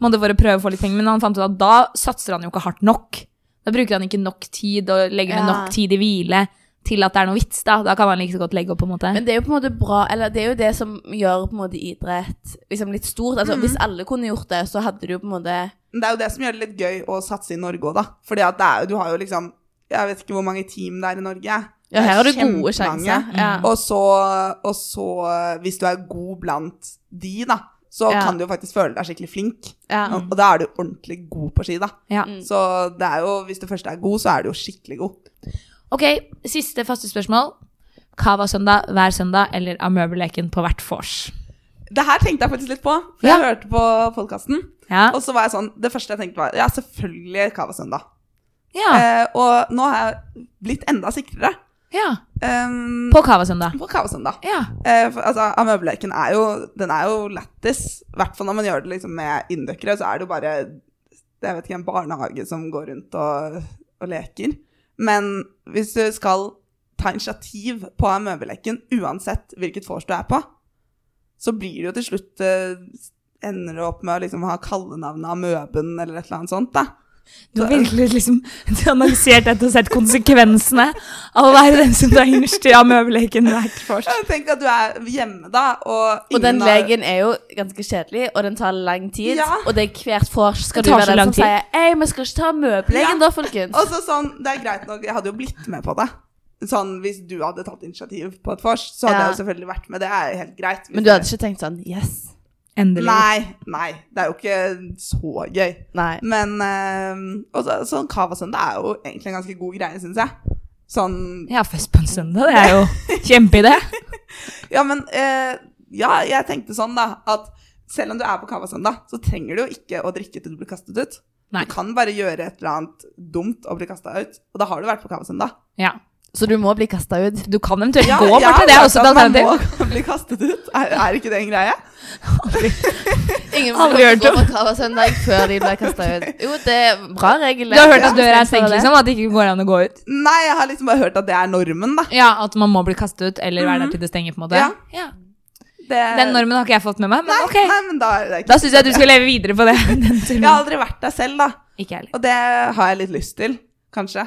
Speaker 1: Måtte bare prøve å få litt penger, men han fant ut at da satser han jo ikke hardt nok. Da bruker han ikke nok tid og legger ned
Speaker 2: Ja.
Speaker 1: nok tid i hvile til at det er noe vits, da. Da kan han like så godt legge opp, på en måte.
Speaker 2: Men det er jo på en måte bra, eller det er jo det som gjør på en måte idrett liksom litt stort.
Speaker 3: Mm.
Speaker 2: Altså, Hvis alle kunne gjort det, så hadde du jo på en måte
Speaker 3: Men det er jo det som gjør det litt gøy å satse i Norge òg, da. Fordi at det er, jo- du har jo liksom Jeg vet ikke hvor mange team det er i Norge.
Speaker 2: Ja, her har du gode
Speaker 3: kjempemange.
Speaker 2: sjanser. Ja.
Speaker 3: Og så, og så, hvis du er god blant de, da, så
Speaker 2: Ja.
Speaker 3: kan du jo faktisk føle deg skikkelig flink.
Speaker 2: Ja. Mm.
Speaker 3: Og, og da er du ordentlig god på ski, da.
Speaker 1: Ja.
Speaker 3: Så det er jo, hvis du først er god, så er du jo skikkelig god.
Speaker 1: Ok, siste faste spørsmål. Cava søndag hver søndag eller Amøbeleken på hvert vors?
Speaker 3: Det her tenkte jeg faktisk litt på, for jeg
Speaker 1: Ja.
Speaker 3: hørte på podkasten.
Speaker 1: Ja.
Speaker 3: Og så var jeg sånn Det første jeg tenkte, var ja, selvfølgelig Kava Søndag.
Speaker 1: Ja.
Speaker 3: Eh, og nå har jeg blitt enda sikrere
Speaker 1: ja.
Speaker 3: um,
Speaker 1: På Cava søndag.
Speaker 3: på Kava Søndag.
Speaker 1: Ja.
Speaker 3: Eh, for, altså, Amøbeleken er jo, den er jo lættis. I hvert fall når man gjør det liksom, med inndøkkere, så er det jo bare jeg vet ikke, en barnehage som går rundt og, og leker. Men hvis du skal ta initiativ på Amøbeleken, uansett hvilket vors du er på, så blir det jo til slutt eh, Ender du opp med å liksom ha kallenavnet Amøben eller et eller annet sånt, da.
Speaker 1: Du har virkelig liksom analysert dette og sett konsekvensene av å være den som tar innerst i Amøbeleken hvert vors.
Speaker 3: Tenk at du er hjemme, da, og
Speaker 2: Og den
Speaker 3: ingen har-
Speaker 2: legen er jo ganske kjedelig, og den tar lang tid.
Speaker 3: Ja.
Speaker 2: Og det er hvert vors skal
Speaker 1: Det
Speaker 2: du
Speaker 1: tar så
Speaker 2: være den
Speaker 1: lang
Speaker 2: som sier Ei, vi skal ikke ta møbelegen
Speaker 3: Ja.
Speaker 2: da, folkens.
Speaker 3: Og så sånn, det er greit nok, jeg hadde jo blitt med på det. Sånn, hvis du hadde tatt initiativ på et vors, så hadde
Speaker 2: Ja.
Speaker 3: jeg jo selvfølgelig vært med. Det er jo helt greit.
Speaker 2: Men du hadde ikke tenkt sånn Yes.
Speaker 1: Endelig.
Speaker 3: Nei, nei. Det er jo ikke så gøy.
Speaker 2: Nei.
Speaker 3: Men eh, og så, sånn kavasøndag er jo egentlig en ganske god greie, syns jeg. Sånn
Speaker 1: Ja, fest på en søndag, det er jo kjempeidé.
Speaker 3: Ja, men eh, Ja, jeg tenkte sånn, da, at selv om du er på kavasøndag, så trenger du jo ikke å drikke til du blir kastet ut.
Speaker 1: Nei.
Speaker 3: Du kan bare gjøre et eller annet dumt og bli kasta ut, og da har du vært på kavasøndag.
Speaker 1: Ja.
Speaker 2: Så du må bli kasta ut.
Speaker 1: Du kan eventuelt gå bort til det, er
Speaker 3: jeg vet
Speaker 1: også et
Speaker 3: at man
Speaker 1: alternativ.
Speaker 3: må bli kastet ut. Er, er ikke det en greie?
Speaker 2: Ingen
Speaker 1: Aldri hørt om.
Speaker 2: på Krava søndag før de blir kasta ut. Jo, det er bra regel.
Speaker 1: Du har hørt
Speaker 2: Ja.
Speaker 1: at døra er
Speaker 2: Stemmer
Speaker 1: stengt,
Speaker 2: det?
Speaker 1: liksom? At det ikke går an å gå ut?
Speaker 3: Nei, jeg har liksom bare hørt at det er normen, da.
Speaker 1: Ja, at man må bli kastet ut, eller være der til det stenger, på en måte?
Speaker 3: Ja. Det-
Speaker 1: Den normen har ikke jeg fått med meg,
Speaker 3: nei,
Speaker 1: men ok.
Speaker 3: nei, men da er det ikke
Speaker 1: Da syns jeg du skal leve videre på det. Den turen.
Speaker 3: Jeg har aldri vært der selv, da.
Speaker 1: Ikke jeg heller.
Speaker 3: Og det har jeg litt lyst til, kanskje.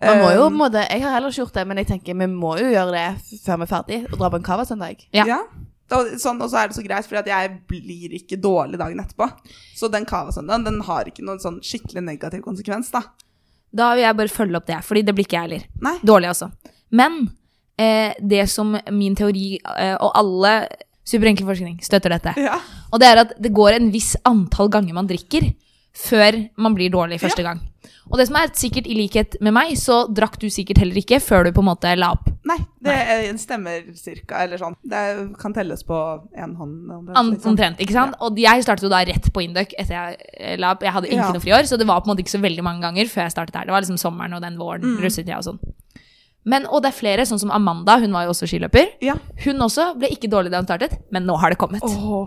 Speaker 2: Man må jo på
Speaker 3: Um,
Speaker 2: en måte Jeg har heller ikke gjort det, men jeg tenker vi må jo gjøre det f- før vi er ferdig, og dra på en Krava søndag.
Speaker 1: Ja.
Speaker 3: ja. Og, sånn, og så er det så greit, for jeg blir ikke dårlig dagen etterpå. Så den kavasøndagen den har ikke noen sånn skikkelig negativ konsekvens, da.
Speaker 1: Da vil jeg bare følge opp det, fordi det blir ikke jeg heller.
Speaker 3: Nei.
Speaker 1: Dårlig, altså. Men eh, det som min teori, eh, og alle superenkel forskning, støtter dette.
Speaker 3: Ja.
Speaker 1: Og det er at det går en viss antall ganger man drikker før man blir dårlig første gang. Og det som er sikkert i likhet med meg, så drakk du sikkert heller ikke før du på en måte la opp.
Speaker 3: Nei, det eh, stemmer cirka, eller sånn. Det kan telles på én hånd. om det er
Speaker 1: An-
Speaker 3: litt sånn.
Speaker 1: Omtrent, ikke sant? Og jeg startet jo da rett på Induc etter jeg eh, la opp. Jeg hadde ikke
Speaker 3: Ja. Mm.
Speaker 1: noe friår, så det var på en måte ikke så veldig mange ganger før jeg startet her. Det var liksom sommeren og den våren, russetida og sånn. Men, og det er flere, sånn som Amanda, hun var jo også skiløper.
Speaker 3: Ja.
Speaker 1: Hun også ble ikke dårlig da hun startet, men nå har det kommet.
Speaker 3: oh,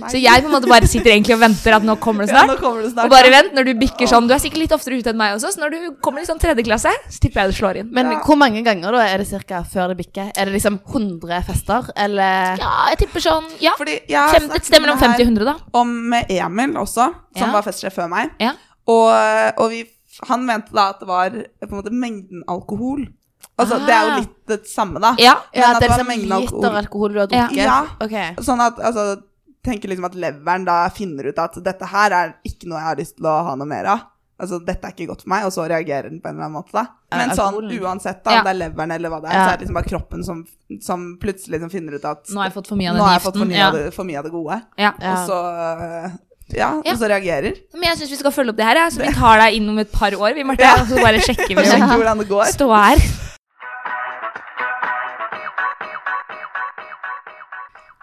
Speaker 3: nei.
Speaker 1: Så jeg på en måte bare sitter egentlig og venter at nå kommer det
Speaker 3: Ja,
Speaker 1: snart.
Speaker 3: nå kommer det snart.
Speaker 1: Og bare vent, når du bikker sånn, du er sikkert litt oftere ute enn meg også, så når du kommer i sånn tredje klasse, så tipper jeg det slår inn.
Speaker 2: Men
Speaker 3: Ja.
Speaker 2: hvor mange ganger da er det cirka før det bikker? Er det liksom 100 fester, eller
Speaker 1: Ja, jeg tipper sånn, ja,
Speaker 3: Fordi jeg har
Speaker 1: fem, et
Speaker 3: snakket
Speaker 1: sted mellom
Speaker 3: med
Speaker 1: 50
Speaker 3: her
Speaker 1: og 100 da.
Speaker 3: Om Emil også, som
Speaker 1: Ja.
Speaker 3: var festsjef før meg.
Speaker 1: Ja.
Speaker 3: Og, og vi, han mente da at det var på en måte mengden alkohol. Altså,
Speaker 1: Ah.
Speaker 3: Det er jo litt det samme, da.
Speaker 1: Ja,
Speaker 3: Men at
Speaker 2: det er
Speaker 3: var
Speaker 2: liksom
Speaker 3: mengden
Speaker 2: liter
Speaker 3: alkohol.
Speaker 2: alkohol du har
Speaker 1: Ja.
Speaker 2: drukket?
Speaker 3: Ja.
Speaker 2: Ok.
Speaker 3: Sånn at altså, tenker liksom at leveren da finner ut at dette her er ikke noe jeg har lyst til å ha noe mer av. Altså, dette er ikke godt for meg, og så reagerer den på en eller annen måte. da. Men sånn,
Speaker 2: alkoholen.
Speaker 3: uansett da, om
Speaker 1: Ja.
Speaker 3: det er leveren eller hva det er,
Speaker 2: Ja.
Speaker 3: så er det liksom bare kroppen som, som plutselig liksom finner ut at
Speaker 1: Nå har jeg fått for mye av
Speaker 3: Nå
Speaker 1: den
Speaker 3: har jeg fått for
Speaker 1: giften.
Speaker 3: mye,
Speaker 1: Ja.
Speaker 3: av, det, for mye av det gode.
Speaker 1: Ja.
Speaker 2: Ja.
Speaker 3: Og så ja,
Speaker 1: Ja.
Speaker 3: og så reagerer.
Speaker 1: Men jeg syns vi skal følge opp det her, ja. så vi tar deg inn om et par år. Vi Marte,
Speaker 3: Ja.
Speaker 1: og så bare sjekker
Speaker 3: Og
Speaker 1: vi
Speaker 3: sjekker hvordan det går.
Speaker 1: ståa her.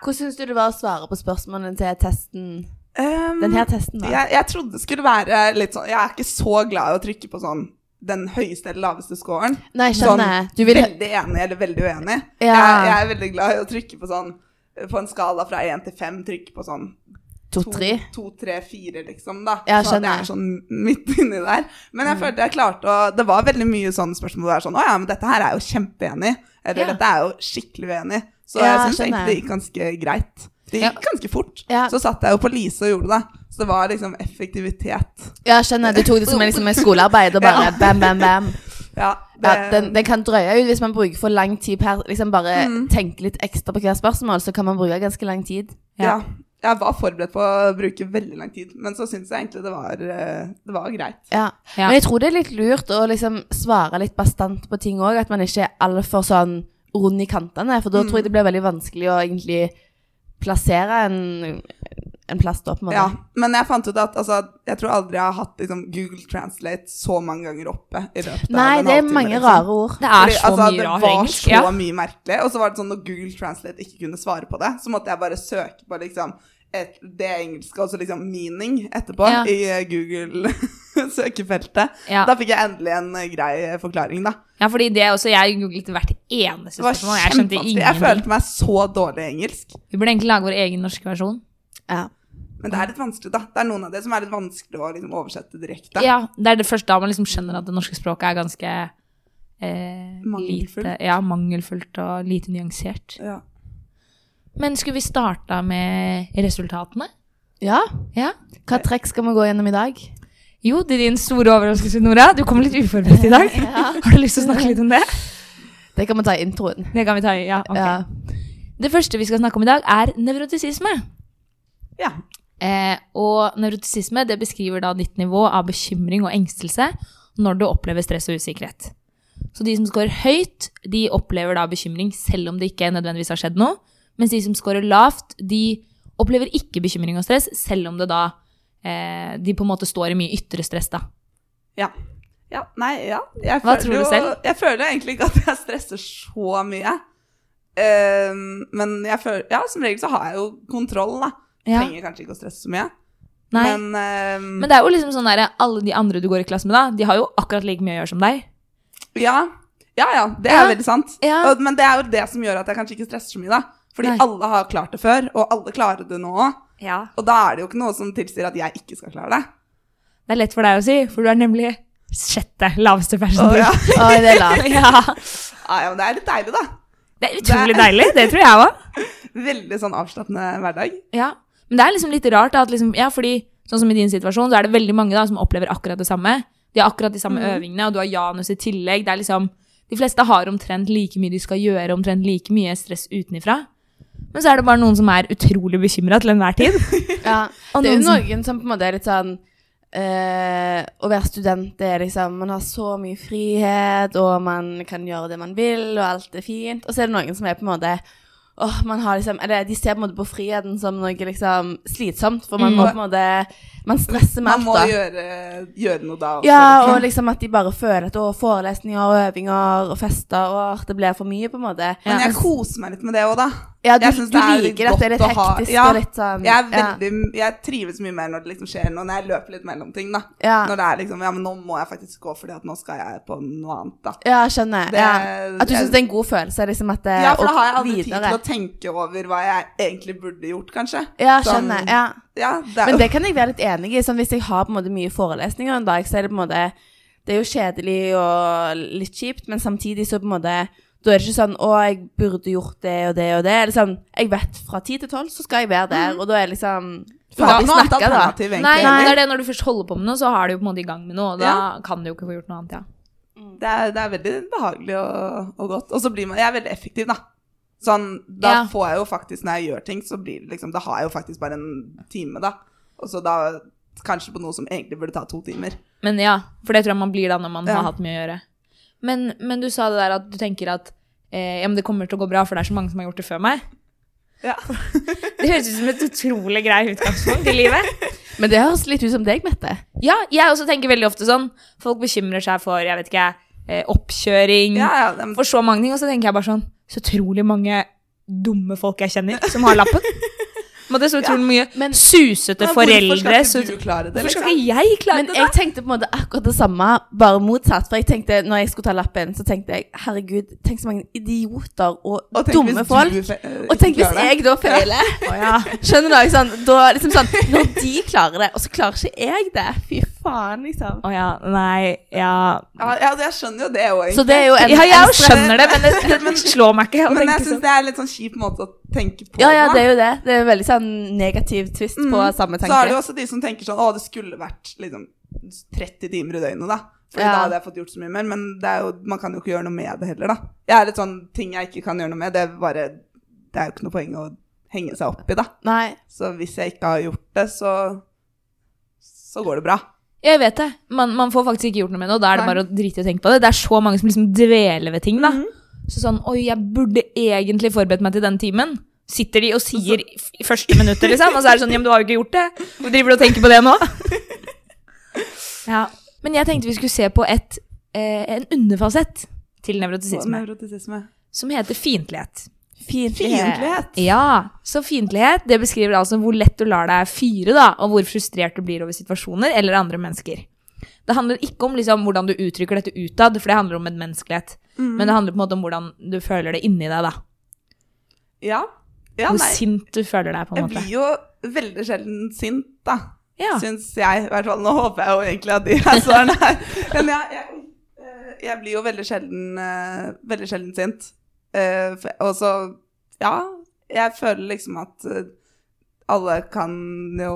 Speaker 2: Hvordan syns du det var å svare på spørsmålene til testen?
Speaker 3: Um,
Speaker 2: Den her testen, da.
Speaker 3: jeg, jeg trodde det skulle være litt sånn Jeg er ikke så glad i å trykke på sånn den høyeste eller laveste scoren.
Speaker 2: Nei,
Speaker 3: Sånn
Speaker 2: skjønner. jeg. Du vil
Speaker 3: veldig enig eller veldig uenig.
Speaker 2: Ja.
Speaker 3: Jeg, jeg er veldig glad i å trykke på sånn på en skala fra én til fem, trykke på sånn
Speaker 2: to-tre?
Speaker 3: to, tre, fire, liksom, da.
Speaker 2: Ja,
Speaker 3: så at jeg
Speaker 2: skjønner. Mm.
Speaker 3: er sånn midt inni der. Men jeg følte jeg klarte å Det var veldig mye sånne spørsmål der sånn Å ja, men dette her er jo kjempeenig. Eller
Speaker 1: Ja.
Speaker 3: dette er jo skikkelig uenig. Så
Speaker 2: Ja,
Speaker 3: jeg syns
Speaker 2: skjønner.
Speaker 3: egentlig det gikk ganske greit. Det gikk ganske fort.
Speaker 2: Ja.
Speaker 3: Så satt jeg jo på Lise og gjorde det. Så det var liksom effektivitet.
Speaker 2: Ja, skjønner. Du tok det som en, liksom, en skolearbeid og bare
Speaker 3: Ja.
Speaker 2: bam, bam, bam.
Speaker 3: Ja, det,
Speaker 2: Ja, den, den kan drøye ut hvis man bruker for lang tid per Liksom bare
Speaker 3: Mm.
Speaker 2: tenke litt ekstra på hvert spørsmål, så kan man bruke ganske lang tid.
Speaker 3: ja. Jeg var forberedt på å bruke veldig lang tid, men så syns jeg egentlig det var, eh, det var greit.
Speaker 2: Ja.
Speaker 1: Ja.
Speaker 2: Men jeg tror det er litt lurt å liksom svare litt bastant på ting òg, at man ikke er altfor sånn rund i kantene, for da tror jeg det blir veldig vanskelig å egentlig plassere en, en plass da, på en måte.
Speaker 3: Ja, men jeg fant ut at altså, jeg tror aldri jeg har hatt liksom, Google Translate så mange ganger oppe i løpet
Speaker 2: Nei,
Speaker 3: av en
Speaker 2: det er
Speaker 3: halvtime,
Speaker 2: mange
Speaker 3: liksom.
Speaker 2: rare ord.
Speaker 1: Det er
Speaker 3: Fordi,
Speaker 1: så
Speaker 3: altså,
Speaker 1: mye
Speaker 3: Det
Speaker 1: rar
Speaker 3: var
Speaker 1: engelsk.
Speaker 3: så
Speaker 1: Ja.
Speaker 3: mye merkelig. Og så var det sånn når Google Translate ikke kunne svare på det, så måtte jeg bare søke på liksom et, det engelske og så liksom meaning etterpå
Speaker 1: Ja.
Speaker 3: i eh, Google søkefeltet.
Speaker 1: Ja.
Speaker 3: Da fikk jeg endelig en eh, grei eh, forklaring, da.
Speaker 1: ja, fordi det også, jeg googlet hvert eneste
Speaker 3: Det var
Speaker 1: spørsmål. Jeg skjønte
Speaker 3: kjempevanskelig. Jeg
Speaker 1: ingenting.
Speaker 3: følte meg så dårlig i engelsk.
Speaker 1: Vi burde egentlig lage vår egen norske versjon.
Speaker 2: Ja.
Speaker 3: Men det er litt vanskelig, da. Det er noen av det som er litt vanskelig å liksom, oversette direkte.
Speaker 1: Ja, Det er det første da man liksom skjønner at det norske språket er ganske eh,
Speaker 3: Mangelfullt.
Speaker 1: Lite, ja, mangelfullt og lite nyansert.
Speaker 3: Ja.
Speaker 1: Men skulle vi starta med resultatene?
Speaker 2: ja.
Speaker 1: Ja.
Speaker 2: Hva trekk skal vi gå gjennom i dag?
Speaker 1: Jo, til din store overraskelse, Nora. Du kom litt uforberedt i dag. Har du lyst til å snakke litt om det?
Speaker 2: Det kan vi ta i introen.
Speaker 1: Det kan vi ta i. Ja, ok.
Speaker 2: Ja.
Speaker 1: Det første vi skal snakke om i dag, er nevrotisisme.
Speaker 3: ja.
Speaker 1: Eh, og nevrotisisme det beskriver da ditt nivå av bekymring og engstelse når du opplever stress og usikkerhet. Så de som scorer høyt, de opplever da bekymring selv om det ikke nødvendigvis har skjedd noe. Mens de som scorer lavt, de opplever ikke bekymring og stress, selv om det da eh, de på en måte står i mye ytre stress, da.
Speaker 3: Ja. ja. Nei, ja. Jeg
Speaker 1: Hva
Speaker 3: føler
Speaker 1: tror du
Speaker 3: jo,
Speaker 1: selv?
Speaker 3: Jeg føler egentlig ikke at jeg stresser så mye. Ehm, men jeg føler, ja, som regel så har jeg jo kontroll, da.
Speaker 1: Ja.
Speaker 3: Trenger kanskje ikke å stresse så mye.
Speaker 1: Nei. Men,
Speaker 3: Men, ehm,
Speaker 1: det er jo liksom sånn der, alle de andre du går i klasse med, da, de har jo akkurat like mye å gjøre som deg.
Speaker 3: ja. ja, ja, det er
Speaker 1: Ja.
Speaker 3: veldig sant.
Speaker 1: Ja.
Speaker 3: Og, men det er jo det som gjør at jeg kanskje ikke stresser så mye, da. Fordi
Speaker 1: Nei.
Speaker 3: alle har klart det før, og alle klarer det nå òg.
Speaker 1: Ja.
Speaker 3: Og da er det jo ikke noe som tilsier at jeg ikke skal klare det.
Speaker 1: Det er lett for deg å si, for du er nemlig sjette laveste persentil.
Speaker 3: ja.
Speaker 2: Oi, det er lavt.
Speaker 1: ja.
Speaker 3: Ja, ja, men det er litt deilig, da.
Speaker 1: Det er utrolig deilig, det tror jeg òg.
Speaker 3: Veldig sånn avslappende hverdag.
Speaker 1: Ja. Men det er liksom litt rart da, at liksom, ja, fordi sånn som i din situasjon, så er det veldig mange da, som opplever akkurat det samme. De har akkurat de samme øvingene, og du har Janus i tillegg. Det er liksom, de fleste har omtrent like mye de skal gjøre, omtrent like mye stress utenifra. Men så er det bare noen som er utrolig bekymra til enhver tid.
Speaker 2: Ja.
Speaker 1: Og
Speaker 2: Det er jo
Speaker 1: noen som-
Speaker 2: noen som på en måte er litt sånn eh, Å være student det er liksom Man har så mye frihet, og man kan gjøre det man vil, og alt er fint. Og så er det noen som er på en måte åh, man har liksom, eller De ser på en måte på friheten som noe liksom slitsomt, for man må på en måte Man stresser med
Speaker 3: Mm. Man må
Speaker 2: alt, da.
Speaker 3: gjøre, gjøre noe da også.
Speaker 2: Ja,
Speaker 3: liksom.
Speaker 2: og liksom at de bare føler at å, forelesninger og øvinger og fester og at det blir for mye, på en måte.
Speaker 3: Men jeg koser meg litt med det òg, da.
Speaker 2: Ja, du,
Speaker 3: Jeg synes
Speaker 2: du
Speaker 3: litt
Speaker 2: liker at det er litt
Speaker 3: godt å ha-
Speaker 2: hektisk
Speaker 3: ja,
Speaker 2: og litt sånn
Speaker 3: Jeg, er
Speaker 2: ja.
Speaker 3: veldig, jeg trives mye mer når det liksom skjer noe, når jeg løper litt mellom ting. da.
Speaker 2: Ja.
Speaker 3: Når det er liksom Ja, men nå må jeg faktisk gå, fordi at nå skal jeg på noe annet, da.
Speaker 2: Ja, skjønner.
Speaker 3: Det-
Speaker 2: ja. At du syns det er en god følelse? liksom at det,
Speaker 3: Ja, for da
Speaker 2: og
Speaker 3: har jeg aldri tid
Speaker 2: videre.
Speaker 3: til å tenke over hva jeg egentlig burde gjort, kanskje.
Speaker 2: Ja,
Speaker 3: Sånn-
Speaker 2: skjønner. Ja.
Speaker 3: ja det er
Speaker 2: Men
Speaker 3: jo
Speaker 2: det kan jeg være litt enig i. Sånn, hvis jeg har på en måte mye forelesninger en dag, så er det på en måte Det er jo kjedelig og litt kjipt, men samtidig så på en måte da er det ikke sånn 'Å, jeg burde gjort det og det og det.' Eller sånn, jeg vet fra ti til tolv så skal jeg være der,
Speaker 3: Mhm.
Speaker 2: og da er jeg liksom
Speaker 3: Du har ikke noe annet
Speaker 2: snakket, da.
Speaker 3: alternativ, egentlig.
Speaker 1: Nei,
Speaker 3: heller.
Speaker 1: det er det når du først holder på med noe, så har du jo på en måte i gang med noe, og da
Speaker 3: Ja.
Speaker 1: kan du jo ikke få gjort noe annet, ja.
Speaker 3: det er, det er veldig behagelig og, og godt. Og så blir man Jeg er veldig effektiv, da. Sånn, da
Speaker 1: Ja.
Speaker 3: får jeg jo faktisk, når jeg gjør ting, så blir det liksom Da har jeg jo faktisk bare en time, da. Og så da kanskje på noe som egentlig burde ta to timer.
Speaker 1: Men ja, for det tror jeg man blir da når man
Speaker 3: Ja.
Speaker 1: har hatt mye å gjøre. Men, men du sa det der at du tenker at eh, ja, men det kommer til å gå bra, for det er så mange som har gjort det før meg.
Speaker 3: Ja.
Speaker 1: Det høres ut som et utrolig grei utgangspunkt i livet.
Speaker 2: Men det høres litt ut som deg, Mette.
Speaker 1: Ja, jeg også tenker veldig ofte sånn. Folk bekymrer seg for, jeg vet ikke, eh,
Speaker 2: Mm.
Speaker 1: oppkjøring,
Speaker 3: Ja, ja, men
Speaker 1: for så mange ting, og så tenker jeg bare sånn, så utrolig mange dumme folk jeg kjenner som har lappen. Men det er så utrolig mye
Speaker 2: men-
Speaker 1: susete
Speaker 3: men
Speaker 1: foreldre.
Speaker 3: Hvorfor
Speaker 1: så
Speaker 3: skal ikke du klare det,
Speaker 1: Hvorfor skal
Speaker 3: liksom?
Speaker 1: ikke jeg klare
Speaker 2: Men
Speaker 1: det, da?
Speaker 2: jeg tenkte på en måte akkurat det samme, bare motsatt. For jeg tenkte, når jeg skulle ta lappen, så tenkte jeg herregud, tenk så mange idioter og,
Speaker 3: Og tenk
Speaker 2: dumme
Speaker 3: hvis du,
Speaker 2: folk.
Speaker 3: eh,
Speaker 2: og tenk
Speaker 3: ikke
Speaker 2: hvis
Speaker 3: klarer det.
Speaker 2: jeg da feiler. Skjønner du? ikke sant? da, liksom sånn, når de klarer det, og så klarer ikke jeg det. Fy faen, liksom.
Speaker 1: Å ja, nei, ja
Speaker 3: Ja, ja, jeg skjønner jo det òg, egentlig.
Speaker 2: Så det er jo en
Speaker 1: Ja, jeg
Speaker 2: en
Speaker 1: jo skjønner det, men det, det slår meg ikke. å
Speaker 3: men
Speaker 1: tenke
Speaker 3: jeg syns
Speaker 1: sånn.
Speaker 3: det er litt sånn kjip måte å tenke på.
Speaker 2: Ja, ja,
Speaker 3: da.
Speaker 2: det er jo det. Det er en veldig sånn negativ twist på samme
Speaker 3: Mm, Så er det jo
Speaker 2: tanke.
Speaker 3: også de som tenker sånn Å, det skulle vært liksom 30 timer i døgnet, da. For
Speaker 2: Ja.
Speaker 3: da hadde jeg fått gjort så mye mer. Men det er jo, man kan jo ikke gjøre noe med det heller, da. Jeg er litt sånn ting jeg ikke kan gjøre noe med. Det er bare Det er jo ikke noe poeng å henge seg opp i, da.
Speaker 2: Nei.
Speaker 3: Så hvis jeg ikke har gjort det, så Så går det bra.
Speaker 1: Jeg vet det. Man, man får faktisk ikke gjort noe med det, og da er det
Speaker 3: Nei. Mhm.
Speaker 1: bare å drite i å tenke på det. Det er så mange som liksom dveler ved ting, da. Så sånn Oi, jeg burde egentlig forberedt meg til den timen. Sitter de og sier i f- i første minuttet, liksom. Og så er det sånn Ja, men du har jo ikke gjort det. Hvor driver du og tenker på det nå? Ja. Men jeg tenkte vi skulle se på et, eh, en underfasett til nevrotisisme,
Speaker 3: Nevrotisisme.
Speaker 1: som heter fiendtlighet.
Speaker 3: Fiendtlighet.
Speaker 1: Eh, Ja, så fiendtlighet det beskriver altså hvor lett du lar deg fyre, da, og hvor frustrert du blir over situasjoner eller andre mennesker. Det handler ikke om liksom, hvordan du uttrykker dette utad, for det handler om medmenneskelighet.
Speaker 3: Mm.
Speaker 1: Men det handler på en måte om hvordan du føler det inni deg, da.
Speaker 3: Ja. ja.
Speaker 1: Hvor
Speaker 3: Nei.
Speaker 1: sint du føler deg, på en
Speaker 3: Jeg
Speaker 1: måte.
Speaker 3: blir jo veldig sjelden sint, da.
Speaker 1: Ja.
Speaker 3: Syns jeg, i hvert fall. Nå håper jeg jo egentlig at de er svarene her. Men jeg, jeg, eh, jeg blir jo veldig sjelden, eh, veldig sjelden sint. Eh, for- Og så, ja, jeg føler liksom at eh, alle kan jo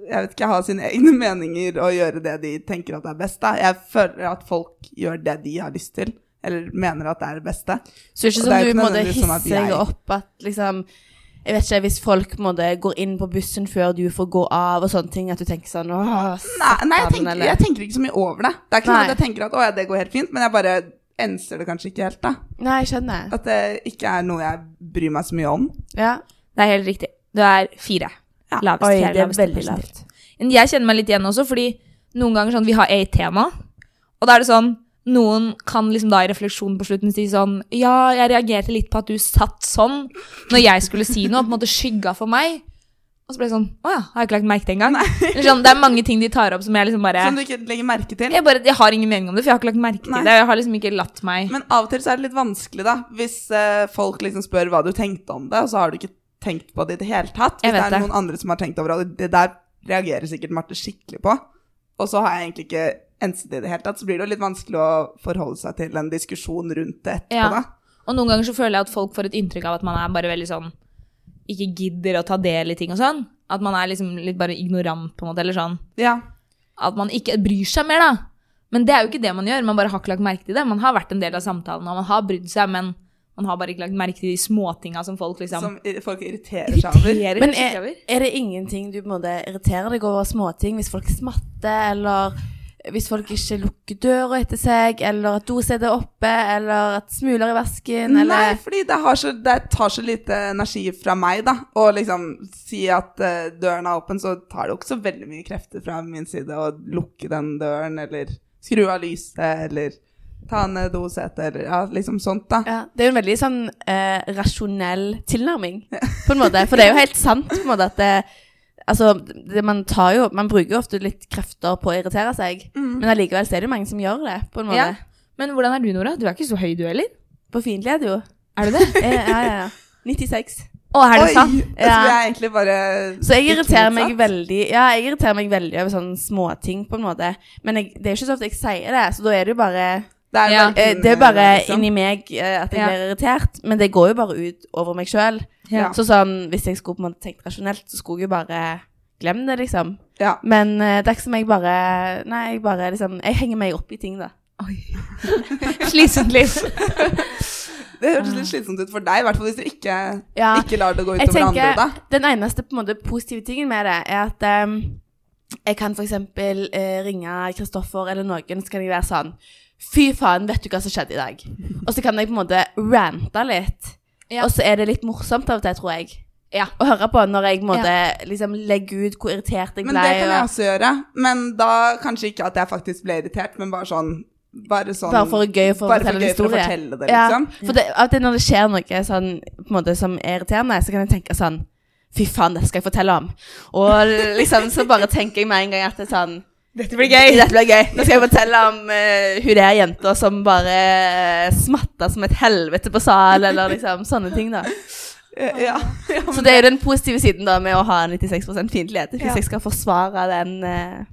Speaker 3: jeg vet ikke, ha sine egne meninger og gjøre det de tenker at er best. Da. Jeg føler at folk gjør det de har lyst til, eller mener at det er det beste.
Speaker 2: Så det er ikke sånn du
Speaker 3: Og det er jo ikke
Speaker 2: måtte
Speaker 3: nødvendigvis sånn
Speaker 2: hisse
Speaker 3: at
Speaker 2: deg
Speaker 3: jeg-
Speaker 2: opp at liksom Jeg vet ikke, hvis folk måtte går inn på bussen før du får gå av og sånne ting, at du tenker sånn Åh,
Speaker 3: Nei, nei jeg,
Speaker 2: satan,
Speaker 3: tenker,
Speaker 2: eller-
Speaker 3: jeg tenker ikke så mye over det. Det er ikke
Speaker 2: Nei.
Speaker 3: sånn at jeg tenker at å, ja, det går helt fint, men jeg bare enser det kanskje ikke helt. da.
Speaker 2: Nei, jeg skjønner.
Speaker 3: At det ikke er noe jeg bryr meg så mye om.
Speaker 2: Ja.
Speaker 1: Det er helt riktig. Du er fire.
Speaker 3: Ja.
Speaker 1: Lavest,
Speaker 2: Oi,
Speaker 1: fjerde
Speaker 2: det er
Speaker 1: laveste
Speaker 2: veldig
Speaker 1: prosent.
Speaker 2: lavt.
Speaker 1: Men jeg kjenner meg litt igjen også, fordi noen ganger sånn, vi har et tema, og da er det sånn, noen kan liksom da i refleksjonen på slutten si sånn, ja, jeg reagerte litt på at du satt sånn, når jeg skulle si noe, på en måte skygga for meg. Og så ble det sånn, åja, har jeg ikke lagt merke til engang. Eller Sånn, det er mange ting de tar opp som jeg liksom bare,
Speaker 3: Som du ikke legger merke til.
Speaker 1: jeg bare, jeg har ingen mening om det, for jeg har ikke lagt merke
Speaker 3: Nei.
Speaker 1: til det, jeg har liksom ikke latt meg.
Speaker 3: Men av og til så er det litt vanskelig, da. Hvis eh, folk liksom spør hva du tenkte om det, og så har du ikke tenkt på det i det hele tatt.
Speaker 1: Jeg
Speaker 3: Hvis det
Speaker 1: vet
Speaker 3: er
Speaker 1: det.
Speaker 3: noen andre som har tenkt over det, det der reagerer sikkert Marte skikkelig på. Og så har jeg egentlig ikke enset det i det hele tatt. Så blir det jo litt vanskelig å forholde seg til en diskusjon rundt det etterpå,
Speaker 1: Ja.
Speaker 3: da.
Speaker 1: Og noen ganger så føler jeg at folk får et inntrykk av at man er bare veldig sånn, ikke gidder å ta del i ting og sånn. At man er liksom litt bare ignorant på en måte, eller sånn.
Speaker 3: Ja.
Speaker 1: at man ikke bryr seg mer, da. Men det er jo ikke det man gjør, man bare har ikke lagt merke til det. Man har vært en del av samtalen, og man har brydd seg, men man har bare ikke lagt merke til de småtinga som folk liksom
Speaker 3: Som i- folk irriterer seg over.
Speaker 1: irriterer
Speaker 2: Men
Speaker 1: seg
Speaker 2: er,
Speaker 1: over.
Speaker 2: er det ingenting du på en måte irriterer deg over småting, hvis folk smatter eller hvis folk ikke lukker døra etter seg, eller at dosetet er oppe, eller at smuler i vasken,
Speaker 3: Nei,
Speaker 2: eller
Speaker 3: fordi det, har så, det tar så lite energi fra meg, da. Å liksom si at eh, døren er åpen, så tar det jo ikke så veldig mye krefter fra min side å lukke den døren, eller skru av lyset, eller ta ned dosetet, eller ja, liksom sånt, da.
Speaker 2: ja, Det er jo en veldig sånn eh, rasjonell tilnærming, på en måte. For det er jo helt sant på en måte at det, altså, det, man, tar jo, man bruker jo ofte litt krefter på å irritere seg, men allikevel så er det jo mange som gjør det, på en måte.
Speaker 1: Ja. Men hvordan er du, Nora? Du er ikke så høy, du heller?
Speaker 2: På fiendtlighet, jo.
Speaker 1: Er du det?
Speaker 2: Eh, Ja, ja, ja. 96.
Speaker 1: Å, er det
Speaker 3: Oi,
Speaker 1: sant?
Speaker 3: Jeg tror jeg egentlig bare
Speaker 2: Så jeg
Speaker 3: gikk
Speaker 2: irriterer
Speaker 3: motsatt.
Speaker 2: meg veldig Ja, jeg irriterer meg veldig over sånne småting, på en måte. Men jeg, det er jo ikke så ofte jeg sier det, så da er det jo bare
Speaker 3: Det er,
Speaker 1: Ja.
Speaker 3: verken,
Speaker 2: eh, Det er bare
Speaker 3: eh, liksom.
Speaker 2: inni meg eh, at jeg
Speaker 1: Ja.
Speaker 2: blir irritert, men det går jo bare ut over meg sjøl.
Speaker 1: Ja.
Speaker 2: Så sånn, hvis jeg skulle på en måte tenkt rasjonelt, så skulle jeg jo bare glemme det, liksom.
Speaker 3: Ja.
Speaker 2: Men eh, det er ikke som jeg bare Nei, jeg bare liksom Jeg henger meg opp i ting, da.
Speaker 1: Slitsomt liv.
Speaker 3: Det høres litt slitsomt ut for deg, i hvert fall hvis du ikke,
Speaker 2: Ja.
Speaker 3: ikke lar det gå
Speaker 2: Ah. Jeg
Speaker 3: utover andre, da.
Speaker 2: Den eneste på en måte positive tingen med det er at em, jeg kan for eksempel eh, ringe Kristoffer eller noen, så kan jeg være sånn Fy faen, vet du hva som skjedde i dag? Og så kan jeg på en måte rante litt.
Speaker 1: Ja.
Speaker 2: Og så er det litt morsomt av og til, tror jeg.
Speaker 1: Ja.
Speaker 2: Å høre på når jeg på en måte liksom legger ut hvor irritert jeg
Speaker 3: Men det kan jeg
Speaker 2: og-
Speaker 3: også gjøre. Men da kanskje ikke at jeg faktisk ble irritert, men bare sånn Bare, sånn,
Speaker 2: Bare for gøy for å
Speaker 3: bare
Speaker 2: fortelle en
Speaker 3: gøy for å
Speaker 2: historie.
Speaker 3: fortelle det, liksom.
Speaker 2: Ja, for det, av og til når det skjer noe sånn, på en måte, som er irriterende, så kan jeg tenke sånn Fy faen, det skal jeg fortelle om. Og liksom, så bare tenker jeg med en gang at det er sånn
Speaker 1: Dette blir gøy.
Speaker 2: Dette blir gøy. Nå skal jeg fortelle om eh, hun der jenta som bare eh, smatta som et helvete på sal, eller liksom sånne ting, da.
Speaker 3: Ja. Eh, Ja.
Speaker 2: Så det er jo den positive siden da med å ha 96 fiendtlighet, hvis
Speaker 3: Ja.
Speaker 2: jeg skal forsvare den, eh,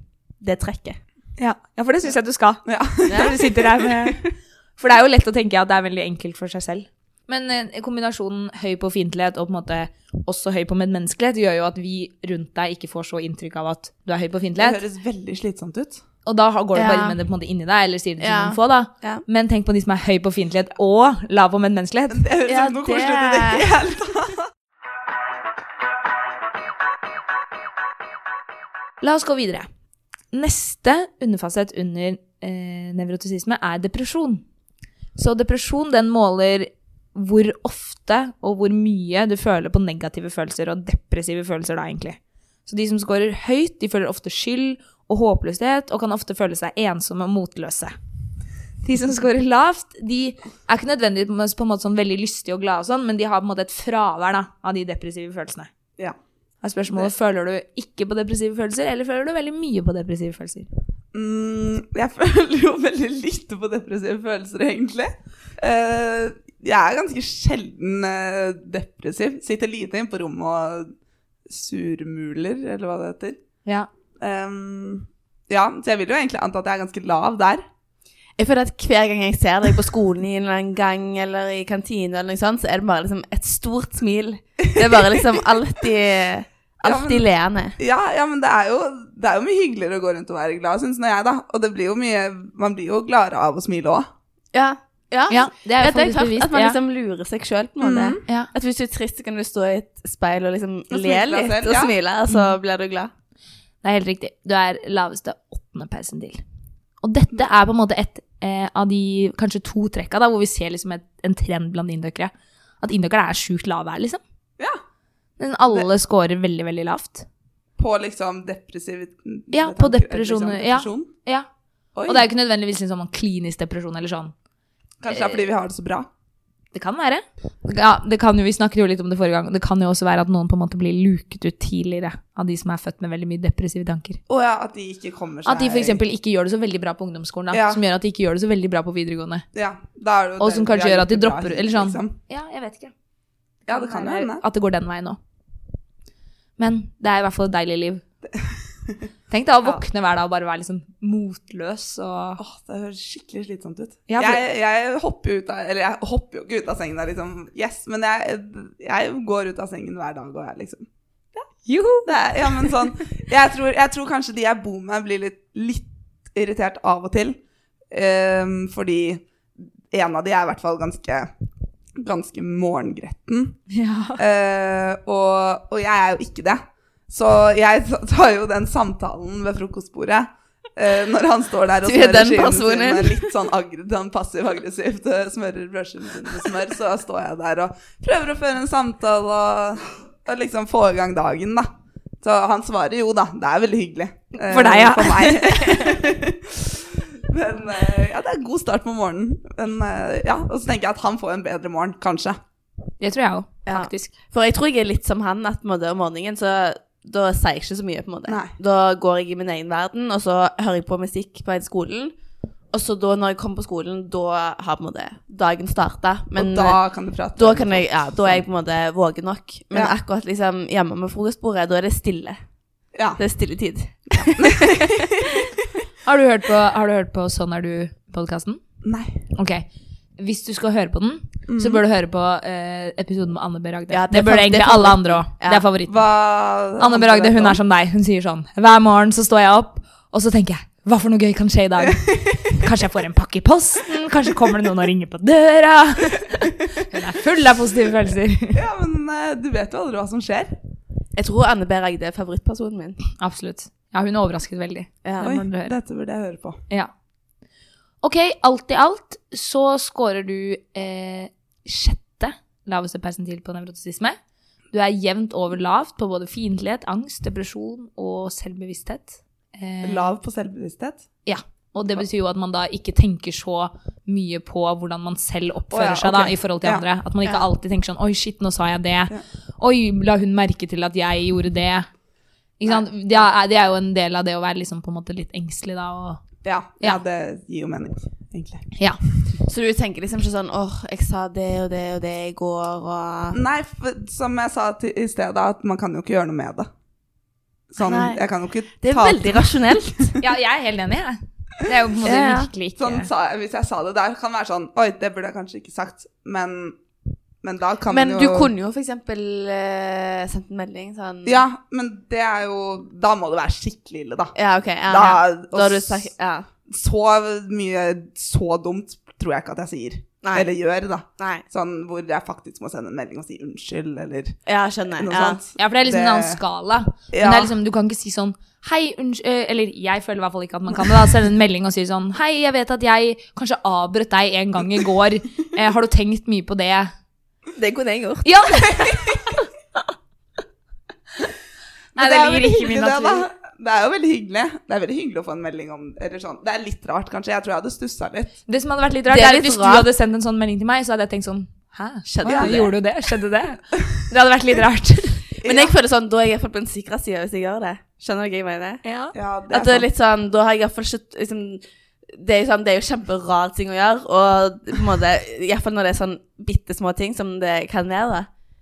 Speaker 2: det trekket.
Speaker 1: Ja, ja for det syns jeg du skal.
Speaker 3: Ja.
Speaker 1: Når du sitter der med For det er jo lett å tenke at det er veldig enkelt for seg selv. Men eh, kombinasjonen høy på fiendtlighet og på en måte også høy på medmenneskelighet gjør jo at vi rundt deg ikke får så inntrykk av at du er høy på
Speaker 3: Det
Speaker 1: fiendtlighet.
Speaker 3: høres veldig slitsomt ut.
Speaker 1: Og da har- går det bare
Speaker 2: Ja.
Speaker 1: inn med det på en måte inni deg, eller sier det til
Speaker 2: Ja.
Speaker 1: noen få, da.
Speaker 2: Ja.
Speaker 1: Men tenk på de som er høy på fiendtlighet og lav på medmenneskelighet.
Speaker 3: Det høres
Speaker 2: Ja,
Speaker 3: ut som noe
Speaker 2: det-
Speaker 3: koselig ut i det hele tatt.
Speaker 1: La oss gå videre. Neste underfasett under eh, nevrotisisme er depresjon. Så depresjon den måler hvor ofte og hvor mye du føler på negative følelser og depressive følelser da egentlig. Så de som scorer høyt, de føler ofte skyld og håpløshet og kan ofte føle seg ensomme og motløse. De som scorer lavt, de er ikke nødvendigvis på en måte sånn veldig lystige og glade og sånn, men de har på en måte et fravær da, av de depressive følelsene.
Speaker 3: Ja.
Speaker 1: Er spørsmålet, føler du ikke på depressive følelser, eller føler du veldig mye på depressive følelser?
Speaker 3: Mm, jeg føler jo veldig lite på depressive følelser, egentlig. Eh, jeg er ganske sjelden eh, depressiv. Sitter lite inne på rommet og surmuler, eller hva det heter.
Speaker 1: Ja.
Speaker 3: Ehm, ja, så jeg vil jo egentlig anta at jeg er ganske lav der.
Speaker 2: Jeg føler at hver gang jeg ser deg på skolen i en eller annen gang, eller i kantina, eller noe sånt, så er det bare liksom et stort smil. Det er bare liksom alltid, alltid leende.
Speaker 3: Ja, ja men det er, jo, det er jo mye hyggeligere å gå rundt og være glad, syns nå jeg, da. Og det blir jo mye Man blir jo gladere av å smile òg.
Speaker 2: Ja, ja.
Speaker 1: Ja, det er jo
Speaker 2: Ja, det Ah, er
Speaker 1: faktisk
Speaker 2: klart
Speaker 1: bevist.
Speaker 2: at man
Speaker 1: ja.
Speaker 2: liksom lurer seg sjøl på en
Speaker 3: Mm.
Speaker 2: måte.
Speaker 1: ja.
Speaker 2: At hvis du er trist, så kan du stå i et speil og liksom
Speaker 3: Og
Speaker 2: le
Speaker 3: smile deg
Speaker 2: litt
Speaker 3: selv,
Speaker 2: og
Speaker 3: ja.
Speaker 2: smile, og så blir du glad.
Speaker 1: Det er helt riktig. Du er laveste åttende persentil. Og dette er på en måte et eh, av de kanskje to trekka da, hvor vi ser liksom et, en trend blant indokere. At indokere er sjukt lave her, liksom.
Speaker 3: Ja.
Speaker 1: Men alle scorer veldig, veldig lavt.
Speaker 3: På liksom depressiv
Speaker 1: Ja, på depresjoner, ja. Ja.
Speaker 3: Oi,
Speaker 1: Og det er jo ikke nødvendigvis liksom en klinisk depresjon eller sånn.
Speaker 3: Kanskje det er fordi vi har det så bra.
Speaker 1: Det kan være. Ja, det kan jo, vi snakket jo litt om det forrige gang. Det kan jo også være at noen på en måte blir luket ut tidligere av de som er født med veldig mye depressive tanker.
Speaker 3: Og ja, at de ikke kommer seg
Speaker 1: At de f.eks. ikke gjør det så veldig bra på ungdomsskolen, da,
Speaker 3: Ja.
Speaker 1: som gjør at de ikke gjør det så veldig bra på videregående.
Speaker 3: ja, da er det jo
Speaker 1: Og
Speaker 3: det
Speaker 1: som
Speaker 3: vi har
Speaker 1: kanskje gjør at de
Speaker 3: gjort det bra
Speaker 1: dropper ut,
Speaker 3: hittil,
Speaker 1: eller sånn.
Speaker 3: liksom.
Speaker 1: Ja, jeg vet ikke.
Speaker 3: Ja, det kan jo hende.
Speaker 1: At det går den veien òg. Men det er i hvert fall et deilig liv. Tenk deg å
Speaker 3: Ja.
Speaker 1: våkne hver dag og bare være litt sånn motløs og
Speaker 3: Åh, det høres skikkelig slitsomt ut.
Speaker 1: Ja, for-
Speaker 3: jeg, jeg hopper ut av Eller jeg hopper jo ikke ut av sengen, da, liksom. Yes, men jeg, jeg går ut av sengen hver dag og er liksom
Speaker 1: Joho!
Speaker 3: Det er, ja, men sånn, jeg, tror, jeg tror kanskje de jeg bor med, blir litt, litt irritert av og til. Ehm, fordi en av de er i hvert fall ganske, ganske morgengretten.
Speaker 1: Ja.
Speaker 3: Eh, og, og jeg er jo ikke det. Så jeg tar jo den samtalen ved frokostbordet. eh, når han står der og
Speaker 2: Du er
Speaker 3: smører
Speaker 2: den
Speaker 3: skiene
Speaker 2: personen.
Speaker 3: sine litt sånn, agre, sånn passiv-aggressivt, eh, smører brødskivene sine med smør, så står jeg der og prøver å føre en samtale og, og liksom få i gang dagen, da. Så han svarer jo, da. Det er veldig hyggelig. eh,
Speaker 1: For deg, ja.
Speaker 3: For meg. Men eh, ja, det er en god start på morgenen. Men, eh, ja, og så tenker jeg at han får en bedre morgen, kanskje.
Speaker 1: Det tror jeg òg,
Speaker 2: Ja.
Speaker 1: faktisk.
Speaker 2: For jeg tror jeg er litt som han, at på en måte, om morgenen så da sier jeg ikke så mye. på en måte.
Speaker 3: Nei.
Speaker 2: Da går jeg i min egen verden, og så hører jeg på musikk på vei til skolen. Og så da, når jeg kommer på skolen, da har på en måte dagen starta. Men eh,
Speaker 3: og da kan du prate.
Speaker 2: da, kan jeg, ja, da er jeg på en måte våken nok. Men
Speaker 3: Ja.
Speaker 2: akkurat liksom hjemme med frokostbordet, da er det stille.
Speaker 3: ja.
Speaker 2: Det er stilletid.
Speaker 1: Har du hørt på, har du hørt på Sånn er du-podkasten?
Speaker 3: Nei.
Speaker 1: Ok. Hvis du skal høre på den, så bør du høre på eh, episoden med Anne B. Ragde.
Speaker 2: Mhm. Ja, det
Speaker 1: det,
Speaker 2: er
Speaker 1: burde
Speaker 2: fa- det
Speaker 1: egentlig
Speaker 2: er
Speaker 1: alle andre òg.
Speaker 2: Ja.
Speaker 1: Det er favoritten.
Speaker 3: Hva
Speaker 1: Anne B. Ragde hun er som deg. Hun sier sånn Hver morgen så står jeg opp, og så tenker jeg hva for noe gøy kan skje i dag? Kanskje jeg får en pakke i posten? Kanskje kommer det noen og ringer på døra? Hun er full av positive følelser.
Speaker 3: Ja, men eh, du vet jo aldri hva som skjer.
Speaker 2: Jeg tror Anne B. Ragde er favorittpersonen min.
Speaker 1: Absolutt. Ja, hun overrasket veldig.
Speaker 2: Ja.
Speaker 1: Det
Speaker 3: Oi,
Speaker 1: må du høre.
Speaker 3: dette burde jeg høre på.
Speaker 1: Ja. Ok, alt i alt så scorer du eh, sjette laveste persentil på nevrotisisme. Du er jevnt over lavt på både fiendtlighet, angst, depresjon og selvbevissthet. Eh,
Speaker 3: Lav på selvbevissthet.
Speaker 1: ja. Og det betyr jo at man da ikke tenker så mye på hvordan man selv oppfører
Speaker 3: Å ja,
Speaker 1: seg da,
Speaker 3: ok.
Speaker 1: i forhold til
Speaker 3: Ja.
Speaker 1: andre. At man ikke
Speaker 2: Ja.
Speaker 1: alltid tenker sånn Oi, shit, nå sa jeg det. Oi, la hun merke til at jeg gjorde det. Ikke sant? Det er, det er jo en del av det å være liksom på en måte litt engstelig da. Og,
Speaker 3: Ja, ja.
Speaker 1: Ja.
Speaker 3: det gir jo mening, egentlig.
Speaker 1: ja.
Speaker 2: Så du tenker liksom ikke sånn åh, jeg sa det og det og det i går, og
Speaker 3: Nei, for, som jeg sa til, i sted, da, at man kan jo ikke gjøre noe med det. Sånn,
Speaker 2: Nei.
Speaker 3: jeg kan jo ikke
Speaker 2: Det er
Speaker 3: ta
Speaker 2: veldig rasjonelt.
Speaker 1: Ja, jeg er helt enig, jeg. Det er jo på en måte
Speaker 2: Ja, ja.
Speaker 1: virkelig ikke
Speaker 3: sånn, sa, Hvis jeg sa det der, kan det være sånn Oi, det burde jeg kanskje ikke sagt, men, men da kan
Speaker 2: Men
Speaker 3: man
Speaker 2: du
Speaker 3: jo
Speaker 2: kunne jo for eksempel eh, sendt en melding sånn
Speaker 3: Ja, men det er jo Da må det være skikkelig ille, da.
Speaker 2: Ja, ok. Ja, ja.
Speaker 3: Da-
Speaker 2: Da har du
Speaker 3: og s-
Speaker 2: sagt Ja.
Speaker 3: Så mye så dumt tror jeg ikke at jeg sier.
Speaker 2: Nei.
Speaker 3: Eller gjør, da.
Speaker 2: Nei.
Speaker 3: Sånn hvor jeg faktisk må sende en melding og si unnskyld, eller
Speaker 2: Ja, jeg skjønner.
Speaker 3: noe
Speaker 2: ja.
Speaker 3: sånt.
Speaker 1: Ja, for det er liksom
Speaker 3: Det-
Speaker 1: en annen skala.
Speaker 3: Ja.
Speaker 1: Men det er liksom, du kan ikke si sånn Hei, unnskyld eh, Eller jeg føler i hvert fall ikke at man kan det. da Sende en melding og si sånn Hei, jeg vet at jeg kanskje avbrøt deg en gang i går. Eh, har du tenkt mye på det?
Speaker 2: Det kunne jeg gjort.
Speaker 1: Ja! Nei,
Speaker 3: Men
Speaker 1: det
Speaker 3: er
Speaker 1: ligger
Speaker 3: veldig
Speaker 1: ikke i min
Speaker 3: hyggelig det,
Speaker 1: natur.
Speaker 3: da. Det er jo veldig hyggelig. Det er veldig hyggelig å få en melding om eller sånn. Det er litt rart, kanskje. Jeg tror jeg hadde stussa litt.
Speaker 1: Det som hadde vært litt rart,
Speaker 2: Det er
Speaker 1: er, at
Speaker 2: litt
Speaker 1: hvis
Speaker 2: rart.
Speaker 1: du hadde sendt en sånn melding til meg, så hadde jeg tenkt sånn Hæ? Å
Speaker 2: Skjedde
Speaker 1: ja,
Speaker 2: det?
Speaker 1: Gjorde du det? Skjedde det? Det hadde vært litt rart.
Speaker 2: Men jeg føler sånn, da er jeg i hvert fall på den sikre sida hvis jeg gjør det. Skjønner du hva jeg mener?
Speaker 1: Ja.
Speaker 3: Ja, det er
Speaker 2: At det er
Speaker 3: sant.
Speaker 2: litt sånn, da har jeg i hvert fall ikke liksom, det, er jo sånn, det er jo kjemperar ting å gjøre, og på en måte, i hvert fall når det er sånn bitte små ting som det kan være. da.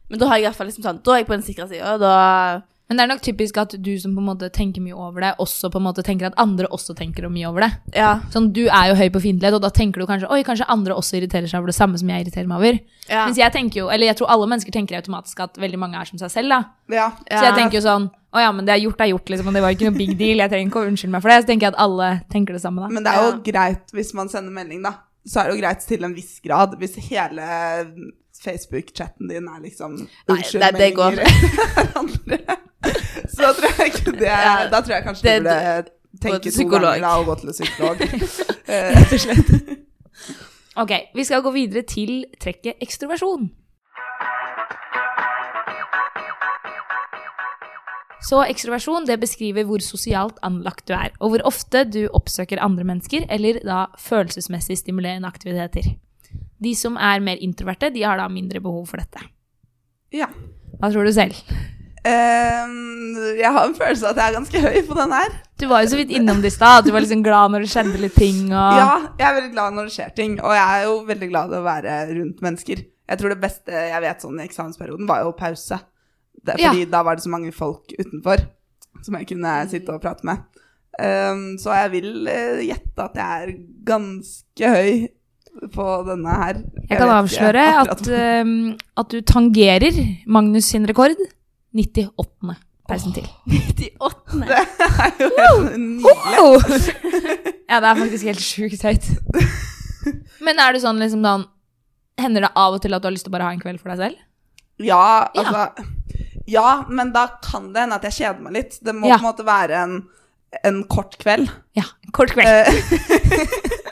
Speaker 2: Men da har jeg i hvert fall liksom sånn, da er jeg på den sikre sida, og da
Speaker 1: Men det er nok typisk at du som på en måte tenker mye over det, også på en måte tenker at andre også tenker mye over det.
Speaker 2: Ja.
Speaker 1: Sånn, Du er jo høy på fiendtlighet, og da tenker du kanskje oi, kanskje andre også irriterer seg over det samme som jeg irriterer meg over.
Speaker 2: Ja.
Speaker 1: Mens jeg tenker jo, eller jeg tror alle mennesker tenker automatisk at veldig mange er som seg selv. da.
Speaker 3: ja.
Speaker 1: Så jeg tenker jo sånn å ja, men det er gjort, det er gjort, liksom, og det var ikke noe big deal. jeg trenger ikke å unnskylde meg for det. Så tenker jeg at alle tenker det samme da.
Speaker 3: Men det er jo
Speaker 2: Ja.
Speaker 3: greit hvis man sender melding, da. Så er det jo greit til en viss grad. Hvis hele Facebook-chatten din er liksom
Speaker 2: Nei, nei, det går.
Speaker 3: går. Så tror jeg ikke det
Speaker 2: Ja,
Speaker 3: Da tror jeg kanskje
Speaker 2: det-
Speaker 3: du burde
Speaker 2: gå
Speaker 3: tenke
Speaker 2: til
Speaker 3: to ganger
Speaker 2: psykolog.
Speaker 3: da, og gå til en psykolog. Eh,
Speaker 1: Ok, Vi skal gå videre til trekket ekstroversjon. Så ekstroversjon det beskriver hvor sosialt anlagt du er, og hvor ofte du oppsøker andre mennesker eller da følelsesmessig stimulerende aktiviteter. De som er mer introverte, de har da mindre behov for dette.
Speaker 3: Ja.
Speaker 1: Hva tror du selv?
Speaker 3: Ehm, jeg har en følelse av at jeg er ganske høy på den her.
Speaker 1: Du var jo så vidt innom det i stad, at du var liksom glad når det skjedde litt ting. og...
Speaker 3: Ja, jeg er veldig glad når det skjer ting, og jeg er jo veldig glad i å være rundt mennesker. Jeg tror det beste jeg vet sånn i eksamensperioden var jo pause. Det,
Speaker 1: Ja.
Speaker 3: fordi da var det så mange folk utenfor som jeg kunne sitte og prate med. Ehm, så jeg vil eh, gjette at jeg er ganske høy på denne her.
Speaker 1: Jeg kan
Speaker 3: vet ikke
Speaker 1: avsløre at,
Speaker 3: akkurat.
Speaker 1: ehm, at du tangerer Magnus sin rekord 98. persentil.
Speaker 2: De åttende.
Speaker 3: Det er jo helt nydelig.
Speaker 1: ja, det er faktisk helt sjukt høyt. Men er det sånn liksom da Hender det av og til at du har lyst til å bare ha en kveld for deg selv?
Speaker 3: Ja, altså Ja, men da kan det hende at jeg kjeder meg litt. Det må
Speaker 1: Ja.
Speaker 3: på en måte være en en kort kveld.
Speaker 1: Ja, en kort kveld.
Speaker 3: Eh,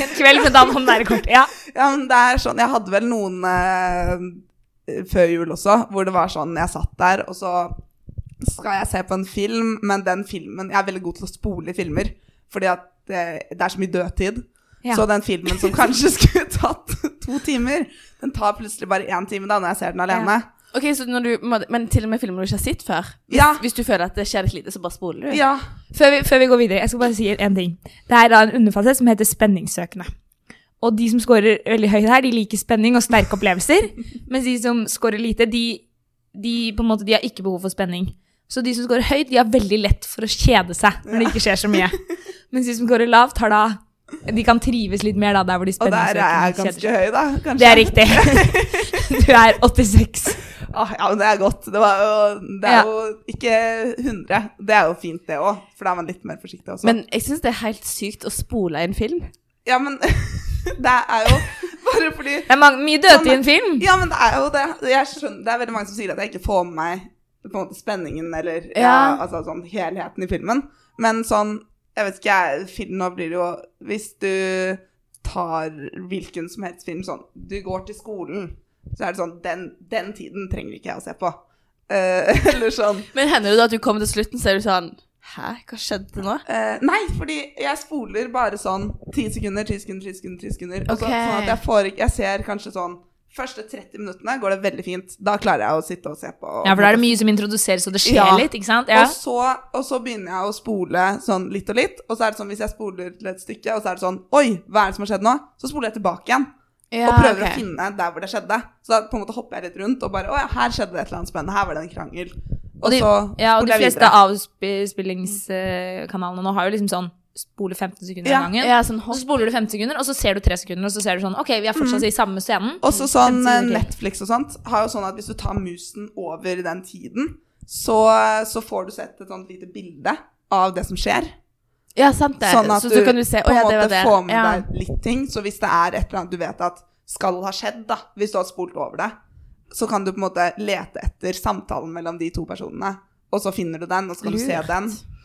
Speaker 1: En kveld, men da må den være kort. Ja.
Speaker 3: ja, men det er sånn, jeg hadde vel noen eh, før jul også, hvor det var sånn, jeg satt der, og så skal jeg se på en film, men den filmen, jeg er veldig god til å spole i filmer, fordi at eh, det er så mye dødtid.
Speaker 1: Ja.
Speaker 3: Så den filmen som kanskje skulle tatt to timer, den tar plutselig bare én time da, når jeg ser den alene.
Speaker 2: Ok, så når du, må- Men til og med filmer du ikke har sett før? Hvis,
Speaker 3: Ja.
Speaker 2: hvis du føler at det skjer litt lite, så bare spoler du?
Speaker 3: Ja,
Speaker 1: Før vi, før vi går videre, jeg skal bare si en ting. Det er da en underfase som heter spenningssøkende. Og de som scorer veldig høyt her, de liker spenning og sterke opplevelser. Mens de som scorer lite, de, de, på en måte, de har ikke behov for spenning. Så de som scorer høyt, de har veldig lett for å kjede seg når det ikke skjer så mye. Mens de som scorer lavt, har da De kan trives litt mer da, der hvor de
Speaker 3: og der er jeg
Speaker 1: spenningssøkende kjeder seg.
Speaker 3: ganske høy, da. Kanskje.
Speaker 1: Det er riktig. Du er 86.
Speaker 3: Ah, ja, men det er godt. Det, var jo, det er
Speaker 1: Ja.
Speaker 3: jo ikke 100. Det er jo fint, det òg, for da er man litt mer forsiktig også.
Speaker 2: Men jeg syns det er helt sykt å spole en film.
Speaker 3: ja, men det er jo bare fordi
Speaker 1: Det er mange, mye døde i en film.
Speaker 3: Ja, men det er jo det. Jeg skjønner, det er veldig mange som sier at jeg ikke får med meg på en måte spenningen eller ja.
Speaker 2: Ja.
Speaker 3: altså, sånn, helheten i filmen. Men sånn, jeg vet ikke, jeg, film, nå blir det jo Hvis du tar hvilken som helst film sånn Du går til skolen, så er det sånn Den, den tiden trenger ikke jeg å se på. Eh, eller sånn
Speaker 2: Men hender det da at du kommer til slutten, så er du sånn Hæ, hva skjedde nå?
Speaker 3: Eh, nei, fordi jeg spoler bare sånn 10 sekunder, 10 sekunder, 10 sekunder. 10 sekunder og så,
Speaker 2: Ok.
Speaker 3: Sånn at jeg får ikke Jeg ser kanskje sånn Første 30 minuttene går det veldig fint. Da klarer jeg å sitte og se på.
Speaker 1: Ja, for da er det mye som introduseres, og det skjer
Speaker 3: Ja.
Speaker 1: litt, ikke sant? Ja.
Speaker 3: og, så, og så begynner jeg å spole sånn litt og litt. Og så er det sånn hvis jeg spoler til et stykke, og så er det sånn Oi, hva er det som har skjedd nå? Så spoler jeg tilbake igjen. og prøver å finne der hvor det skjedde. Så da på en måte hopper jeg litt rundt og bare Å ja, her skjedde det et eller annet spennende. Her var det en krangel. Og,
Speaker 1: Og de-
Speaker 3: så
Speaker 1: Ja, og de
Speaker 3: spoler jeg
Speaker 1: fleste
Speaker 3: videre.
Speaker 1: avspillingskanalene nå har jo liksom sånn spole 15 sekunder
Speaker 3: Ja,
Speaker 1: av gangen.
Speaker 2: Ja, sånn
Speaker 1: Og så
Speaker 2: hopp.
Speaker 1: spoler du 15 sekunder, og så ser du 3 sekunder, og så ser du sånn Ok, vi er
Speaker 3: Mhm.
Speaker 1: fortsatt i samme scenen.
Speaker 3: Også sånn
Speaker 1: 15
Speaker 3: eh,
Speaker 1: sekunder til.
Speaker 3: Netflix og sånt har jo sånn at hvis du tar musen over den tiden, så, så får du sett et sånt lite bilde av det som skjer.
Speaker 2: Ja, sant det.
Speaker 3: Sånn at
Speaker 2: så, så kan du se Å
Speaker 3: på en
Speaker 2: ja, det var
Speaker 3: måte
Speaker 2: det.
Speaker 3: får med
Speaker 2: Ja.
Speaker 3: deg litt ting. Så hvis det er et eller annet du vet at skal ha skjedd, da, hvis du har spolt over det, så kan du på en måte lete etter samtalen mellom de to personene, og så finner du den, og så kan du se
Speaker 2: Lurt.
Speaker 3: den,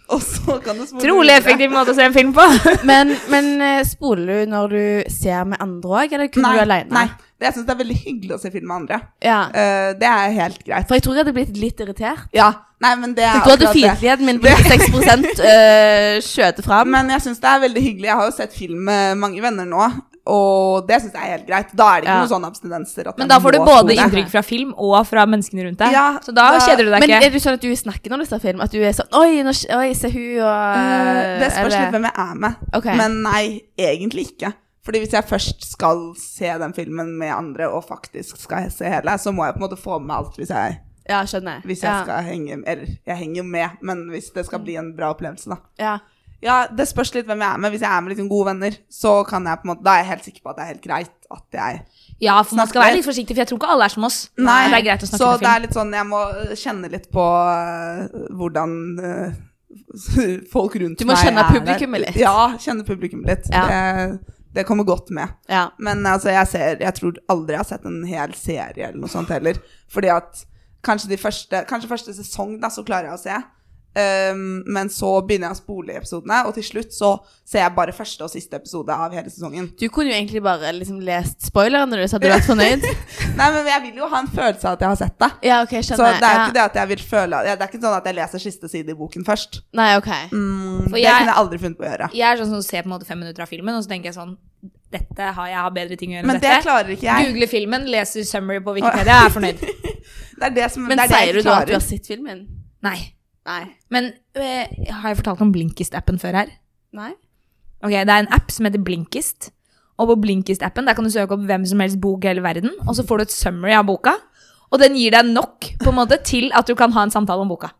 Speaker 3: og så kan du spole
Speaker 1: Utrolig
Speaker 3: videre.
Speaker 1: effektiv måte å se en film på.
Speaker 2: Men, men eh, spoler du når du ser med andre òg, eller kun
Speaker 3: Nei,
Speaker 2: du alene?
Speaker 3: nei. Det, jeg syns det er veldig hyggelig å se film med andre.
Speaker 2: Ja.
Speaker 3: Eh, det er helt greit.
Speaker 2: For jeg tror jeg hadde blitt litt irritert.
Speaker 3: Ja, nei, men det er
Speaker 2: Da hadde
Speaker 3: akkurat det.
Speaker 2: fiendtligheten min på 6 eh, skjøtet fram.
Speaker 3: Men jeg syns det er veldig hyggelig. Jeg har jo sett film med mange venner nå, og det syns jeg er helt greit. Da er det ikke
Speaker 2: Ja.
Speaker 3: noen sånne abstinenser. At
Speaker 1: Men
Speaker 3: jeg
Speaker 1: da får du
Speaker 3: må
Speaker 1: både
Speaker 3: spole.
Speaker 1: inntrykk fra film og fra menneskene rundt deg.
Speaker 3: Ja,
Speaker 1: så da
Speaker 3: da-
Speaker 1: kjeder du deg
Speaker 2: Men
Speaker 1: ikke.
Speaker 2: er det sånn at du snakker når du ser film? At du er sånn Oi, nå, sk- oi se hun og
Speaker 3: Eh, Det spørs
Speaker 2: eller-
Speaker 3: litt hvem jeg er med.
Speaker 2: Ok.
Speaker 3: Men nei, egentlig ikke. Fordi hvis jeg først skal se den filmen med andre, og faktisk skal se hele, så må jeg på en måte få med alt hvis jeg,
Speaker 2: Ja, skjønner.
Speaker 3: hvis jeg
Speaker 2: ja.
Speaker 3: skal henge Eller jeg henger jo med, men hvis det skal bli en bra opplevelse, da.
Speaker 2: Ja.
Speaker 3: Ja, det spørs litt hvem jeg er med. Hvis jeg er med liksom gode venner, så kan jeg på en måte, da er jeg helt sikker på at det er helt greit at jeg
Speaker 1: Ja, for man skal
Speaker 3: Snakker.
Speaker 1: være litt forsiktig, for jeg tror ikke alle er som oss. Men
Speaker 3: Nei,
Speaker 1: Det er greit å snakke
Speaker 3: så
Speaker 1: med
Speaker 3: det
Speaker 1: film.
Speaker 3: er litt sånn, jeg må kjenne litt på øh, hvordan øh, folk rundt meg
Speaker 2: Du må kjenne
Speaker 3: er der.
Speaker 2: publikummet litt.
Speaker 3: Ja, kjenne publikummet litt.
Speaker 2: Ja.
Speaker 3: Det, det kommer godt med.
Speaker 2: ja.
Speaker 3: Men altså, jeg, ser, jeg tror aldri jeg har sett en hel serie eller noe sånt heller. Fordi at kanskje, de første, kanskje første sesong da, så klarer jeg å se. Ehm, men så begynner jeg å spole i episodene, og til slutt så ser jeg bare første og siste episode av hele sesongen.
Speaker 2: Du kunne jo egentlig bare liksom lest spoilerne, du, så hadde du vært fornøyd.
Speaker 3: Nei, men jeg vil jo ha en følelse av at jeg har sett det.
Speaker 2: Ja, ok,
Speaker 3: Så
Speaker 2: skjønner.
Speaker 3: det er jo
Speaker 2: ja.
Speaker 3: ikke det at jeg vil føle Det er ikke sånn at jeg leser siste side i boken først.
Speaker 2: Nei, ok.
Speaker 3: Mm.
Speaker 1: For
Speaker 3: det
Speaker 1: jeg-
Speaker 3: kunne jeg aldri funnet på å gjøre.
Speaker 1: Jeg er sånn som ser på en måte fem minutter av filmen, og så tenker jeg sånn Dette har jeg har bedre ting å gjøre enn
Speaker 3: Men det
Speaker 1: dette.
Speaker 3: klarer ikke jeg.
Speaker 1: Google filmen, leser summary på Wikipedia, jeg er fornøyd.
Speaker 3: Det er det som
Speaker 2: Men
Speaker 3: det er det jeg
Speaker 2: sier du
Speaker 3: ikke
Speaker 2: da at du
Speaker 3: klarer.
Speaker 2: har sett filmen?
Speaker 1: Nei.
Speaker 2: Nei.
Speaker 1: Men eh, har jeg fortalt om Blinkist-appen før her?
Speaker 2: Nei?
Speaker 1: Ok, Det er en app som heter Blinkist. Og på Blinkist-appen der kan du søke opp hvem som helst bok i hele verden, og så får du et summary av boka. Og den gir deg nok på en måte, til at du kan ha en samtale om boka.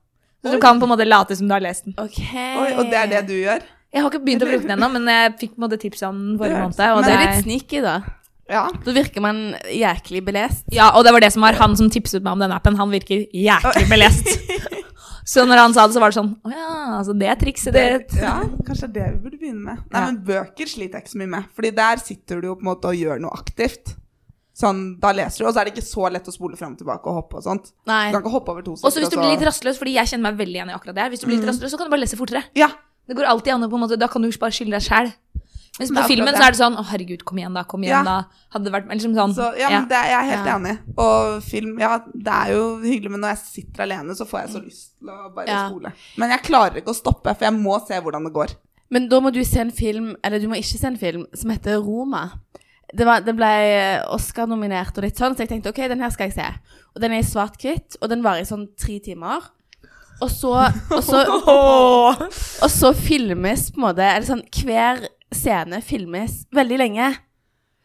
Speaker 1: Så du kan på en måte late som du har lest den.
Speaker 2: Ok.
Speaker 3: Oi, og det er det du gjør?
Speaker 1: Jeg har ikke begynt å bruke den ennå, men jeg fikk på en måte tips om den forrige
Speaker 3: Det
Speaker 1: måned.
Speaker 3: høres-
Speaker 1: Og
Speaker 2: Men det
Speaker 1: det,
Speaker 2: er litt sneaky, da.
Speaker 3: Ja.
Speaker 2: Da virker man jæklig belest.
Speaker 1: ja, og det var det som var han som tipset meg om den appen. Han virker jæklig belest. Så når han sa det, så var det sånn Å ja, altså det er trikset ditt.
Speaker 3: ja, kanskje det er det vi burde begynne med. Nei,
Speaker 1: Ja.
Speaker 3: men bøker sliter jeg ikke så mye med. Fordi der sitter du jo på en måte og gjør noe aktivt. Sånn, da leser du, og så er det ikke så lett å spole fram og tilbake og hoppe og sånt.
Speaker 2: Nei.
Speaker 3: Du kan ikke hoppe over to
Speaker 1: Og så
Speaker 3: stykker,
Speaker 1: hvis du
Speaker 3: og
Speaker 1: blir litt rastløs, fordi jeg kjenner meg veldig igjen i akkurat det her, hvis du blir
Speaker 3: Mm.
Speaker 1: litt rastløs, så kan du bare lese fortere.
Speaker 3: Ja,
Speaker 1: Det går alltid an å på en måte, da kan du bare skille deg sjæl. Mens
Speaker 3: Det
Speaker 1: på
Speaker 3: er akkurat
Speaker 1: filmen
Speaker 3: det.
Speaker 1: så er det sånn å herregud, kom igjen da, kom igjen
Speaker 3: Ja.
Speaker 1: da. Hadde det vært men liksom sånn.
Speaker 3: så, ja, men
Speaker 1: ja.
Speaker 3: det, jeg er helt
Speaker 2: Mm. Ja.
Speaker 3: enig. Og film, ja, det er jo hyggelig, men når jeg sitter alene, så får jeg så lyst til å bare
Speaker 2: Mm. Ja.
Speaker 3: spole. Men jeg klarer ikke å stoppe, for jeg må se hvordan det går.
Speaker 2: Men da må du se en film, eller du må ikke se en film, som heter Roma. Det, var, det ble eh, Oscar-nominert og litt sånn, så jeg tenkte ok, den her skal jeg se. Og den er i svart-hvitt, og den varer i sånn tre timer. Og så, og så, og så filmes på en måte, eller sånn, hver scene filmes veldig lenge.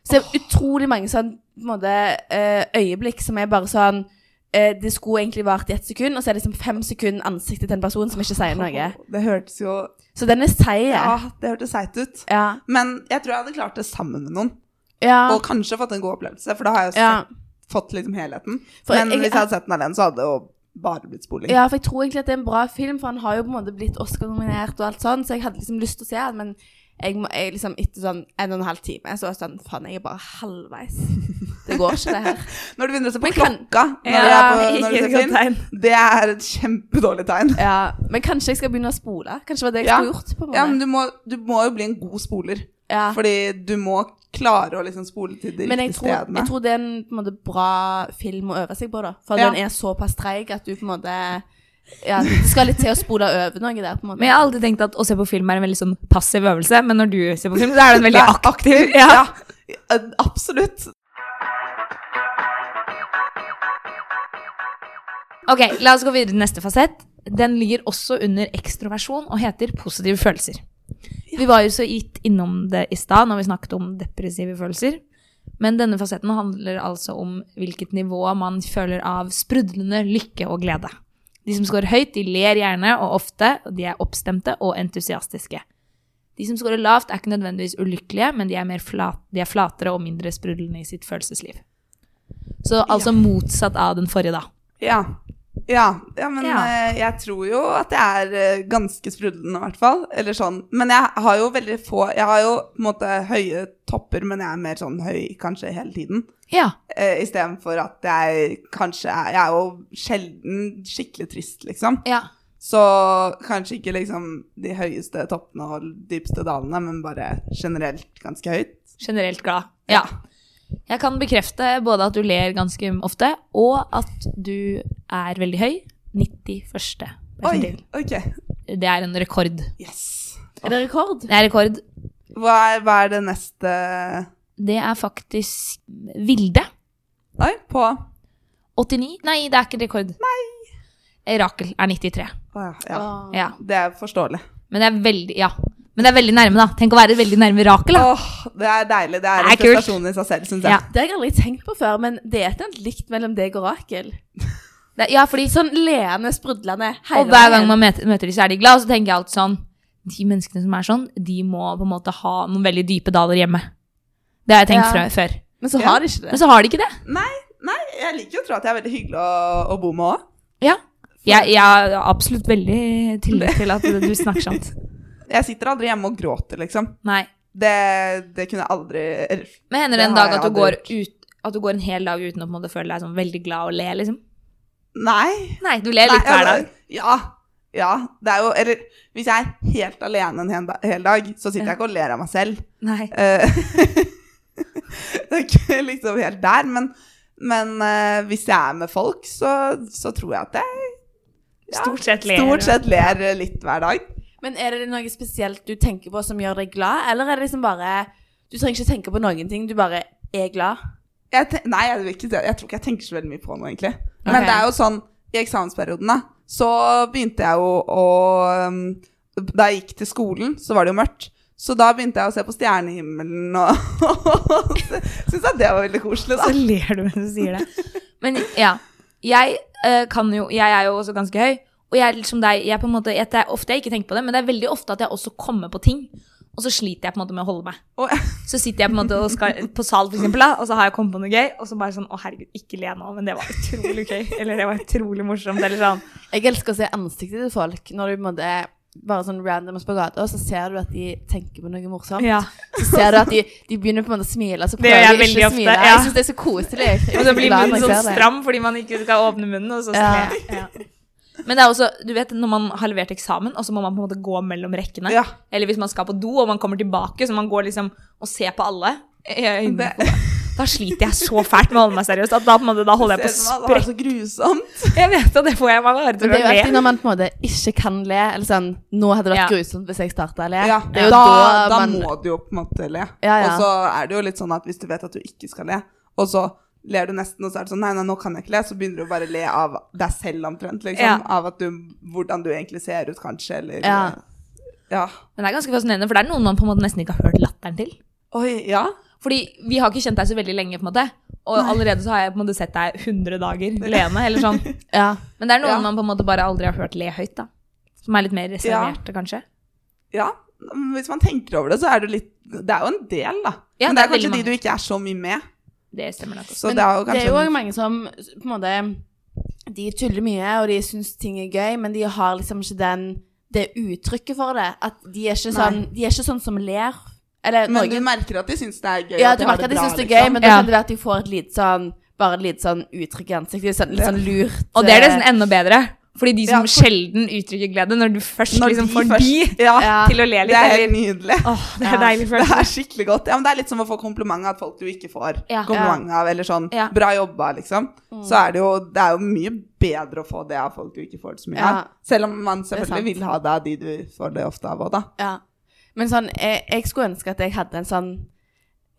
Speaker 2: Så det er utrolig mange sånn, på en måte, eh, øyeblikk som er bare sånn, eh, det skulle egentlig vært i ett sekund, og så er det liksom fem sekunder ansiktet til en person som ikke sier noe.
Speaker 3: Det hørtes jo
Speaker 2: Så den er seig.
Speaker 3: Ja, det hørtes seigt ut.
Speaker 2: Ja.
Speaker 3: Men jeg tror jeg hadde klart det sammen med noen.
Speaker 2: Ja.
Speaker 3: Og kanskje fått en god opplevelse, for da har jeg sett,
Speaker 2: Ja.
Speaker 3: fått liksom helheten.
Speaker 2: For
Speaker 3: Men
Speaker 2: jeg-
Speaker 3: hvis jeg hadde sett den alene, så hadde det jo bare blitt spoling.
Speaker 2: ja, for jeg tror egentlig at det er en bra film, for han har jo på en måte blitt Oscar-nominert og alt sånn, så jeg hadde liksom lyst til å se han, men jeg, må, jeg liksom etter sånn en og en halv time, så var jeg sånn, faen, jeg er bare halvveis. Det går ikke det her.
Speaker 3: Når du begynner å se på
Speaker 2: Men kan-
Speaker 3: klokka når
Speaker 1: Ja,
Speaker 3: du er på, når du
Speaker 1: ikke
Speaker 3: ser
Speaker 1: et godt
Speaker 3: film,
Speaker 1: tegn.
Speaker 3: det er et kjempedårlig tegn.
Speaker 2: Ja, men kanskje jeg skal begynne å spole. Kanskje det var det jeg
Speaker 3: Ja.
Speaker 2: skulle gjort, på en måte.
Speaker 3: Ja, men du må, du må jo bli en god spoler.
Speaker 2: Ja.
Speaker 3: Fordi du må klare å liksom spole til de
Speaker 2: Men jeg
Speaker 3: riktige
Speaker 2: tror,
Speaker 3: stedene.
Speaker 2: jeg tror det er en på en måte, bra film å øve seg på, da. For
Speaker 3: Ja.
Speaker 2: den er såpass treig at du på en måte Ja, det skal litt til å spole over noe der, på en måte.
Speaker 1: Men jeg har alltid tenkt at å se på film er en veldig sånn passiv øvelse, men når du ser på film, så er det en veldig aktiv. Ja.
Speaker 3: Ja, absolutt.
Speaker 1: Ok, la oss gå videre til neste fasett. Den ligger også under ekstroversjon og heter positive følelser. Vi var jo så gitt innom det i stad når vi snakket om depressive følelser. Men denne fasetten handler altså om hvilket nivå man føler av sprudlende lykke og glede. De som scorer høyt, de ler gjerne og ofte, og de er oppstemte og entusiastiske. De som scorer lavt, er ikke nødvendigvis ulykkelige, men de er, mer flat, de er flatere og mindre sprudlende i sitt følelsesliv. Så altså motsatt av den forrige, da.
Speaker 3: Ja. Ja, ja men
Speaker 1: Ja.
Speaker 3: eh, jeg tror jo at jeg er eh, ganske sprudlende, i hvert fall. Eller sånn. Men jeg har jo veldig få Jeg har jo på en måte høye topper, men jeg er mer sånn høy kanskje hele tiden.
Speaker 1: Ja.
Speaker 3: Eh, Istedenfor at jeg kanskje er Jeg er jo sjelden skikkelig trist, liksom.
Speaker 1: Ja.
Speaker 3: Så kanskje ikke liksom de høyeste toppene og dypeste dalene, men bare generelt ganske høyt.
Speaker 1: Generelt glad. Ja. Jeg kan bekrefte både at du ler ganske ofte, og at du er veldig høy. 91.
Speaker 3: Oi,
Speaker 1: persentil.
Speaker 3: ok.
Speaker 1: Det er en rekord.
Speaker 3: Yes.
Speaker 2: Er det rekord?
Speaker 1: Det er rekord.
Speaker 3: Hva er, hva er det neste
Speaker 1: Det er faktisk Vilde.
Speaker 3: Oi, på Å
Speaker 1: 89. Nei, det er ikke rekord. Nei. Rakel er 93.
Speaker 3: ja, ja.
Speaker 2: Åh.
Speaker 1: Ja.
Speaker 3: Det er forståelig.
Speaker 1: Men det er veldig Ja. Men det er veldig nærme, da. Tenk å være veldig nærme Rakel, da.
Speaker 3: Åh, det er deilig. Det er
Speaker 1: Det
Speaker 3: en
Speaker 1: er kult.
Speaker 3: prestasjon i seg selv, syns jeg.
Speaker 1: Ja.
Speaker 2: Det har jeg aldri tenkt på før, men det er et eller annet likt mellom deg og Rakel.
Speaker 1: Det, ja, fordi
Speaker 2: Sånn leende, sprudlende. hele
Speaker 1: Og hver gang
Speaker 2: veien.
Speaker 1: man møter, møter de, så er de glad, og så tenker jeg alltid sånn De menneskene som er sånn, de må på en måte ha noen veldig dype daler hjemme. Det har jeg tenkt
Speaker 2: Ja.
Speaker 1: fra, før.
Speaker 2: Men så
Speaker 3: Ja.
Speaker 2: har de ikke det.
Speaker 1: Men så har de ikke det.
Speaker 3: Nei, nei, jeg liker jo å tro at jeg er veldig hyggelig å, å bo med òg.
Speaker 1: Ja. Jeg, jeg har absolutt veldig tillit til at du snakker sant.
Speaker 3: Jeg sitter aldri hjemme og gråter, liksom.
Speaker 1: Nei.
Speaker 3: Det, det kunne jeg aldri
Speaker 1: Men hender
Speaker 3: Det
Speaker 1: det en
Speaker 3: har
Speaker 1: dag
Speaker 3: jeg
Speaker 1: at du, går
Speaker 3: aldri
Speaker 1: ut, at du går en hel dag uten å på en måte føle deg sånn veldig glad og le, liksom?
Speaker 3: Nei.
Speaker 1: Nei, du ler litt
Speaker 3: Nei,
Speaker 1: hver
Speaker 3: altså,
Speaker 1: dag.
Speaker 3: Ja. ja. Det er jo Eller hvis jeg er helt alene en hel da- hel dag, så sitter
Speaker 1: Ja.
Speaker 3: jeg ikke og ler av meg selv.
Speaker 1: Nei.
Speaker 3: Eh, det er ikke liksom helt der, men, men eh, hvis jeg er med folk, så, så tror jeg at jeg
Speaker 1: Stort sett ler.
Speaker 3: stort sett ler litt hver dag.
Speaker 2: Men er det noe spesielt du tenker på som gjør deg glad, eller er det liksom bare Du trenger ikke tenke på noen ting, du bare er glad.
Speaker 3: Jeg te nei, jeg, vil ikke, si- jeg tror ikke jeg tenker så veldig mye på noe, egentlig. Men
Speaker 2: Ok.
Speaker 3: det er jo sånn, i eksamensperioden da, så begynte jeg jo å um, Da jeg gikk til skolen, så var det jo mørkt. Så da begynte jeg å se på stjernehimmelen og Syns jeg det var veldig koselig, da.
Speaker 1: Så ler du mens du sier det. Men ja, jeg eh, kan jo Jeg er jo også ganske høy. Og jeg er litt som deg. Jeg på en måte, jeg, det er ofte jeg ikke tenker på det, men det er veldig ofte at jeg også kommer på ting. Og så sliter jeg på en måte med å holde meg.
Speaker 3: Og,
Speaker 1: Så sitter jeg på en måte og skal, på sal, for eksempel, da, og så har jeg kommet på noe gøy, og så bare sånn Å, herregud, ikke le nå, men det var utrolig gøy. Eller det var utrolig morsomt. Eller sånn.
Speaker 2: Jeg elsker å se ansiktet til folk når du på en måte bare sånn randoms på gata, og så ser du at de tenker på noe morsomt.
Speaker 1: Ja.
Speaker 2: Så ser du at de, de begynner på en måte å smile, så
Speaker 1: Det gjør
Speaker 2: prøver
Speaker 1: jeg
Speaker 2: de ikke
Speaker 1: veldig
Speaker 2: å
Speaker 1: ofte,
Speaker 2: smile.
Speaker 1: ja.
Speaker 2: Jeg syns det er så koselig. Jeg
Speaker 1: Og
Speaker 2: blir
Speaker 1: så blir
Speaker 2: glad når
Speaker 1: munnen
Speaker 2: jeg
Speaker 1: sånn
Speaker 2: ser det.
Speaker 1: stram fordi man ikke skal åpne munnen, og så
Speaker 2: Ja.
Speaker 1: sler jeg. Ja. Men det er også, du vet, når man har levert eksamen, og så må man på en måte gå mellom rekkene.
Speaker 3: Ja.
Speaker 1: Eller hvis man skal på do, og man kommer tilbake, så man går liksom og ser på alle. i øynene
Speaker 3: Det-
Speaker 1: på folk. Da sliter jeg så fælt med å holde meg seriøs at da, på en måte, da holder jeg på å
Speaker 3: Det var
Speaker 1: sprekke.
Speaker 3: så grusomt.
Speaker 1: Jeg vet at det får jeg meg bare
Speaker 2: Men
Speaker 1: til
Speaker 2: det
Speaker 1: å
Speaker 2: er jo
Speaker 1: le.
Speaker 2: alltid når man på en måte ikke kan le, eller sånn Nå hadde det vært
Speaker 1: Ja.
Speaker 2: grusomt hvis jeg starta å le.
Speaker 3: Ja,
Speaker 2: Det er jo
Speaker 3: da,
Speaker 2: da,
Speaker 3: da
Speaker 2: man
Speaker 3: må du jo på en måte le.
Speaker 2: Ja, ja.
Speaker 3: Og så er det jo litt sånn at hvis du vet at du ikke skal le, og så ler du nesten, og så er det sånn Nei, nei, nå kan jeg ikke le. Så begynner du å bare le av deg selv omtrent, liksom.
Speaker 1: Ja.
Speaker 3: Av at du, hvordan du egentlig ser ut, kanskje, eller eh,
Speaker 2: Ja.
Speaker 3: ja.
Speaker 1: Men det er ganske fascinerende, for det er noen man på en måte nesten ikke har hørt latteren til.
Speaker 3: Oi, ja.
Speaker 1: Fordi vi har ikke kjent deg så veldig lenge, på en måte. Og allerede så har jeg på en måte sett deg 100 dager lene, eller sånn.
Speaker 2: ja.
Speaker 1: Men det er noen
Speaker 3: Ja.
Speaker 1: man på en måte bare aldri har hørt le høyt, da. Som er litt mer reserverte, kanskje.
Speaker 3: Ja. Men Hvis man tenker over det, så er det litt Det er jo en del, da.
Speaker 1: Ja,
Speaker 3: Men det
Speaker 1: det
Speaker 3: er
Speaker 1: er
Speaker 3: kanskje
Speaker 1: veldig
Speaker 3: de du ikke er så mye med.
Speaker 1: Det stemmer nok også.
Speaker 3: Så
Speaker 2: Men
Speaker 3: det er jo
Speaker 2: det
Speaker 3: kanskje
Speaker 2: er jo også mange som på en måte De tuller mye, og de syns ting er gøy, men de har liksom ikke den, det uttrykket for det. At de er ikke sånn, de er ikke sånn som ler. Eller
Speaker 3: Men
Speaker 2: noen
Speaker 3: du merker at de syns det er gøy.
Speaker 2: Ja,
Speaker 3: at
Speaker 2: du
Speaker 3: de har
Speaker 2: merker at de
Speaker 3: bra,
Speaker 2: syns det er
Speaker 3: liksom.
Speaker 2: gøy, men da
Speaker 1: Ja.
Speaker 2: kan det være at de får et lite sånn bare et lite sånn uttrykk i ansiktet. Sånn, litt sånn lurt.
Speaker 1: Og det er
Speaker 2: eh,
Speaker 1: nesten enda bedre. Fordi de som
Speaker 3: Ja, for-
Speaker 1: sjelden uttrykker glede, når du først
Speaker 3: Når
Speaker 1: liksom
Speaker 3: de
Speaker 1: får
Speaker 3: først-
Speaker 1: de
Speaker 3: ja,
Speaker 2: Ja.
Speaker 1: til å le litt,
Speaker 3: Det er helt
Speaker 1: eller
Speaker 3: nydelig.
Speaker 1: Åh, det er
Speaker 2: Ja.
Speaker 1: deilig
Speaker 3: Det
Speaker 1: følelse.
Speaker 3: er skikkelig godt. Ja, men det er litt som å få kompliment av folk du ikke får
Speaker 1: Ja.
Speaker 3: kompliment av, eller sånn
Speaker 1: Ja.
Speaker 3: 'bra jobba', liksom.
Speaker 2: Mm.
Speaker 3: Så er det jo Det er jo mye bedre å få det av folk du ikke får det så mye
Speaker 2: Ja.
Speaker 3: av. Selv om man
Speaker 2: er sant.
Speaker 3: selvfølgelig vil ha det av de du får det ofte av òg, da.
Speaker 2: Ja. Men sånn, jeg, jeg skulle ønske at jeg hadde en sånn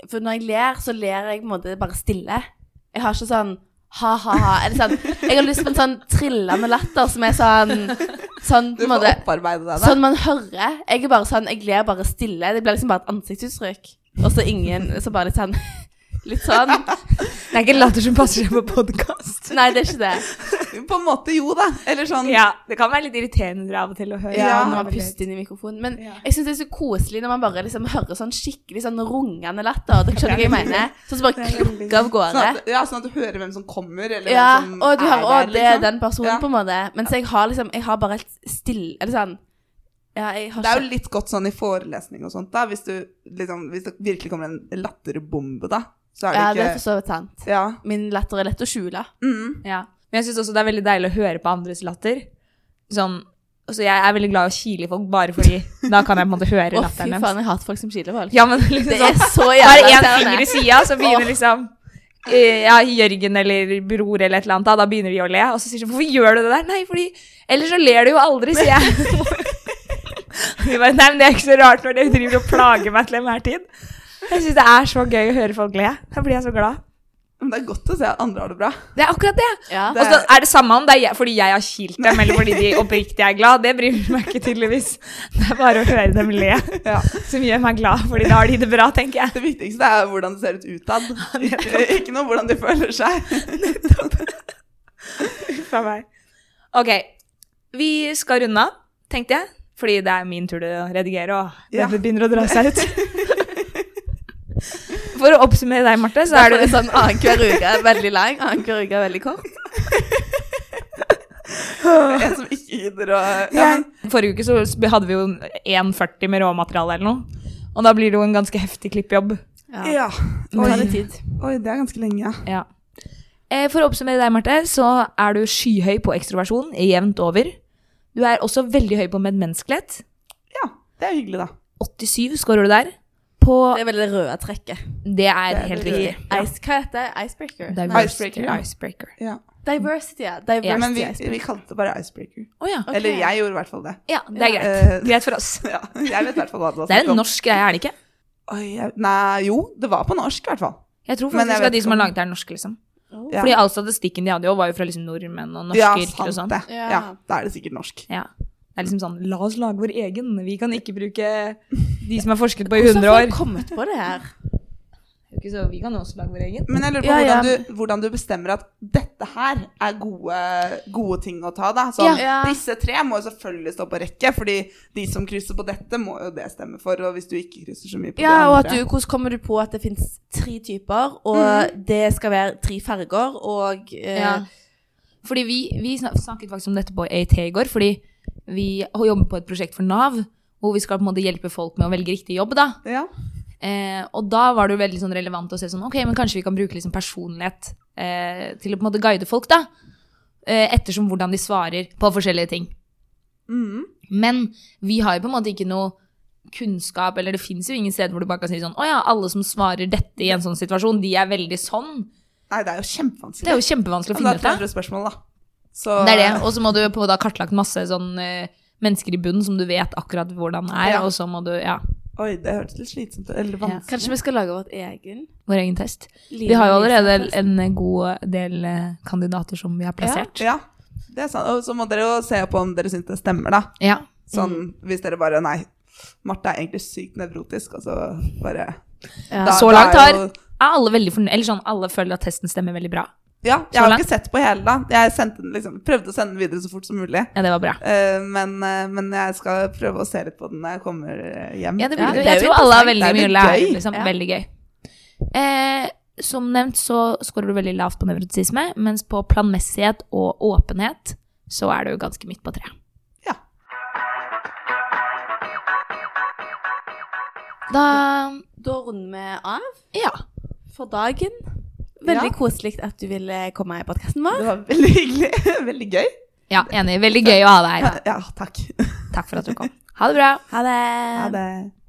Speaker 2: For når jeg ler, så ler jeg på en måte bare stille. Jeg har ikke sånn ha-ha-ha. Eller sånn Jeg har lyst på en sånn trillende latter som er sånn Sånn
Speaker 3: Du
Speaker 2: på en
Speaker 3: får
Speaker 2: måte
Speaker 3: opparbeide deg det.
Speaker 2: Sånn man hører. Jeg er bare sånn Jeg ler bare stille. Det blir liksom bare et ansiktsuttrykk. Og så ingen Så bare litt sånn Litt sånn.
Speaker 1: Det er ikke latter som passer seg på podkast.
Speaker 2: Nei, det er ikke det.
Speaker 3: På en måte jo, da. Eller sånn
Speaker 1: Ja, det kan være litt irriterende av og til å høre.
Speaker 2: Ja,
Speaker 3: Ja,
Speaker 2: når man puster inn i mikrofonen. Men
Speaker 1: Ja.
Speaker 2: jeg syns det er så koselig når man bare liksom hører sånn skikkelig sånn rungende latter. Dere skjønner hva jeg mener? Sånn som bare klukker av gårde.
Speaker 3: Sånn at, ja, sånn at du hører hvem som kommer, eller
Speaker 2: Ja,
Speaker 3: hvem som
Speaker 2: og du hører
Speaker 3: er
Speaker 2: òg
Speaker 3: der.
Speaker 2: det er
Speaker 3: Liksom.
Speaker 2: den personen,
Speaker 3: Ja.
Speaker 2: på en måte. Mens jeg har liksom Jeg har bare helt stille Eller sånn Ja, jeg har
Speaker 3: Det er
Speaker 2: ikke
Speaker 3: jo litt godt sånn i forelesning og sånt, da. Hvis, du, liksom, hvis det virkelig kommer en latterbombe, da, så er det
Speaker 2: Ja, det
Speaker 3: ikke
Speaker 2: er for så vidt sant.
Speaker 3: Ja.
Speaker 2: Min latter er lett å skjule.
Speaker 3: Mm.
Speaker 1: Ja. Men jeg syns også det er veldig deilig å høre på andres latter. Sånn, altså jeg er veldig glad i å kile i folk, bare fordi da kan jeg på en måte høre
Speaker 2: Å, fy
Speaker 1: latteren deres.
Speaker 2: faen, jeg hater folk som kiler folk.
Speaker 1: Ja, men liksom
Speaker 2: Det er
Speaker 1: sånn,
Speaker 2: så
Speaker 1: Bare
Speaker 2: jævla
Speaker 1: én finger i
Speaker 2: irriterende.
Speaker 1: sida, så begynner liksom eh, ja, Jørgen eller bror eller et eller annet, da, da begynner de å le. Og så sier de 'Hvorfor gjør du det der?' Nei, fordi Ellers så ler du jo aldri, sier jeg. De bare, Nei, men det er ikke så rart når dere driver og plager meg til enhver tid. Jeg syns det er så gøy å høre folk le. Da blir jeg så glad.
Speaker 3: Men det er godt å se at andre har det bra.
Speaker 1: Det er akkurat det.
Speaker 2: Ja.
Speaker 1: Og så er det samme om det er jeg, fordi jeg har kilt dem, eller fordi de oppriktig er glad. Det bryr meg ikke tydeligvis. Det er bare å høre dem le
Speaker 3: Ja.
Speaker 1: som gjør meg glad, fordi da har de det bra, tenker jeg.
Speaker 3: Det viktigste er hvordan det ser ut utad, ikke, ikke noe hvordan de føler seg.
Speaker 1: Uff a meg. Ok, vi skal runde av, tenkte jeg. Fordi det er min tur til å redigere, og
Speaker 3: Ja.
Speaker 1: det begynner å dra seg ut. For å oppsummere deg, Marte, så er
Speaker 2: Derfor
Speaker 1: du
Speaker 2: er det sånn annenhver uke er veldig lang, annenhver uke er veldig kort.
Speaker 3: En som ikke gidder å ja, men,
Speaker 1: Forrige uke så sp- hadde vi jo 1,40 med råmateriale eller noe. Og da blir det jo en ganske heftig klippjobb.
Speaker 3: ja.
Speaker 2: Nå
Speaker 3: Oi.
Speaker 2: tar det tid.
Speaker 3: Oi, det er ganske lenge. ja.
Speaker 1: Ja. Eh, For å oppsummere deg, Marte, så er du skyhøy på ekstroversjon, jevnt over. Du er også veldig høy på medmenneskelighet.
Speaker 3: Ja, det er hyggelig, da.
Speaker 1: 87 skårer du der. På
Speaker 2: Det er vel det røde trekket.
Speaker 1: Det er
Speaker 3: er
Speaker 1: helt
Speaker 3: det
Speaker 1: riktig.
Speaker 2: Ice, hva heter det? Icebreaker?
Speaker 1: Diversity.
Speaker 3: Icebreaker, ja.
Speaker 1: Icebreaker.
Speaker 3: Ja.
Speaker 2: Diversity, ja.
Speaker 1: Ja,
Speaker 2: Diversity
Speaker 3: Men vi,
Speaker 2: icebreaker.
Speaker 3: vi kalte det bare icebreaker.
Speaker 1: Å ja.
Speaker 2: Ok.
Speaker 3: Eller jeg gjorde i hvert fall det.
Speaker 1: ja. Det er greit.
Speaker 3: Eh,
Speaker 1: Greit for oss.
Speaker 3: ja, jeg vet i hvert fall hva det var.
Speaker 1: Det er en norsk greie, er det ikke?
Speaker 3: Oi, jeg, nei, jo, det var på norsk i hvert fall.
Speaker 1: Jeg tror
Speaker 3: Men jeg
Speaker 1: faktisk at
Speaker 3: vet
Speaker 1: de som
Speaker 3: ikke
Speaker 1: har
Speaker 3: om-
Speaker 1: laget det, er norske, liksom.
Speaker 3: Ja.
Speaker 1: Fordi all statistikken de hadde jo, var jo fra liksom nordmenn og norske
Speaker 3: ja,
Speaker 1: yrker og
Speaker 3: sant
Speaker 1: sånn.
Speaker 3: det.
Speaker 2: Ja.
Speaker 3: Ja, da er det sikkert norsk.
Speaker 1: Ja. Det er liksom sånn La oss lage vår egen. Vi kan ikke bruke de som er forsket på i
Speaker 2: Hvordan
Speaker 1: 100
Speaker 2: har
Speaker 1: år.
Speaker 2: folk kommet på det her?
Speaker 1: Ikke Så vi kan jo også lage vår egen.
Speaker 3: Men jeg lurer på
Speaker 2: Ja, ja.
Speaker 3: Hvordan, du, hvordan du bestemmer at dette her er gode, gode ting å ta, da. Sånn,
Speaker 2: Ja. Ja.
Speaker 3: Disse tre må jo selvfølgelig stå på rekke, fordi de som krysser på dette, må jo det stemme for. Og hvis du ikke krysser så mye på
Speaker 2: Ja,
Speaker 3: det
Speaker 2: og at
Speaker 3: andre
Speaker 2: du, hvordan kommer du på at det finnes tre typer, og
Speaker 3: Mhm.
Speaker 2: det skal være tre farger, og eh,
Speaker 1: Ja. Fordi vi, vi snak- snakket faktisk om dette på AT i går, fordi vi jobber på et prosjekt for Nav, hvor vi skal på en måte hjelpe folk med å velge riktig jobb. da.
Speaker 3: Ja.
Speaker 1: Eh, og da var det jo veldig sånn relevant å se sånn, ok, men kanskje vi kan bruke liksom personlighet eh, til å på en måte guide folk, da. Eh, ettersom hvordan de svarer på forskjellige ting.
Speaker 3: Mhm.
Speaker 1: Men vi har jo på en måte ikke noe kunnskap, eller det fins jo ingen steder hvor du bare kan si sånn Å ja, alle som svarer dette i en sånn situasjon, de er veldig sånn.
Speaker 3: Nei, det er jo kjempevanskelig.
Speaker 1: Det er jo kjempevanskelig å finne
Speaker 3: det er
Speaker 1: ut av.
Speaker 3: 200 spørsmål, da. Så,
Speaker 1: Det er det. Og så må du på da kartlagt masse sånn eh, mennesker i bunnen som du vet akkurat hvordan er,
Speaker 3: Ja.
Speaker 1: og så må du Ja,
Speaker 3: Oi, det hørtes litt slitsomt ut.
Speaker 1: Ja.
Speaker 3: Eller vanskelig.
Speaker 2: Kanskje vi skal lage vårt egen?
Speaker 1: vår egen test. Vi
Speaker 2: Line
Speaker 1: har jo allerede
Speaker 2: Lisa-test.
Speaker 1: en god del eh, kandidater som vi har plassert.
Speaker 3: Ja, det er sant. Og så må dere jo se på om dere syns det stemmer, da.
Speaker 1: Ja.
Speaker 3: Sånn
Speaker 1: Mm.
Speaker 3: hvis dere bare Nei, Marte er egentlig sykt nevrotisk, og så bare
Speaker 2: Ja.
Speaker 3: Da-
Speaker 1: Så
Speaker 3: da
Speaker 1: langt
Speaker 3: er
Speaker 1: har
Speaker 3: jo-
Speaker 1: er alle veldig fornøyd, eller sånn, alle føler at testen stemmer veldig bra.
Speaker 3: Ja,
Speaker 1: Så
Speaker 3: jeg har
Speaker 1: langt.
Speaker 3: ikke sett på hele, da. Jeg sendte den, liksom, prøvde å sende den videre så fort som mulig.
Speaker 1: Ja, det var bra.
Speaker 3: Eh, men, eh, men jeg skal prøve å se litt på den når jeg kommer eh, hjem.
Speaker 1: Ja, det
Speaker 2: Ja,
Speaker 1: blir,
Speaker 2: det er
Speaker 1: jeg
Speaker 2: jo
Speaker 1: tror alle har
Speaker 3: interessant.
Speaker 1: veldig
Speaker 3: Det
Speaker 1: mye
Speaker 3: er
Speaker 1: å
Speaker 3: litt
Speaker 1: lære.
Speaker 3: gøy.
Speaker 1: Liksom,
Speaker 2: Ja.
Speaker 1: Veldig gøy. Eh, som nevnt så scorer du veldig lavt på nevrotisisme, mens på planmessighet og åpenhet så er du ganske midt på treet.
Speaker 3: Ja.
Speaker 1: Da
Speaker 2: Da runder vi av
Speaker 1: Ja.
Speaker 2: for dagen. Veldig
Speaker 3: Ja.
Speaker 2: koselig at du ville komme i podkasten vår.
Speaker 3: Det var veldig hyggelig. Veldig gøy.
Speaker 1: ja. Enig. Veldig gøy å ha deg her.
Speaker 3: Ja, takk.
Speaker 1: Takk for at du kom. Ha det bra.
Speaker 2: Ha det.
Speaker 3: Ha det.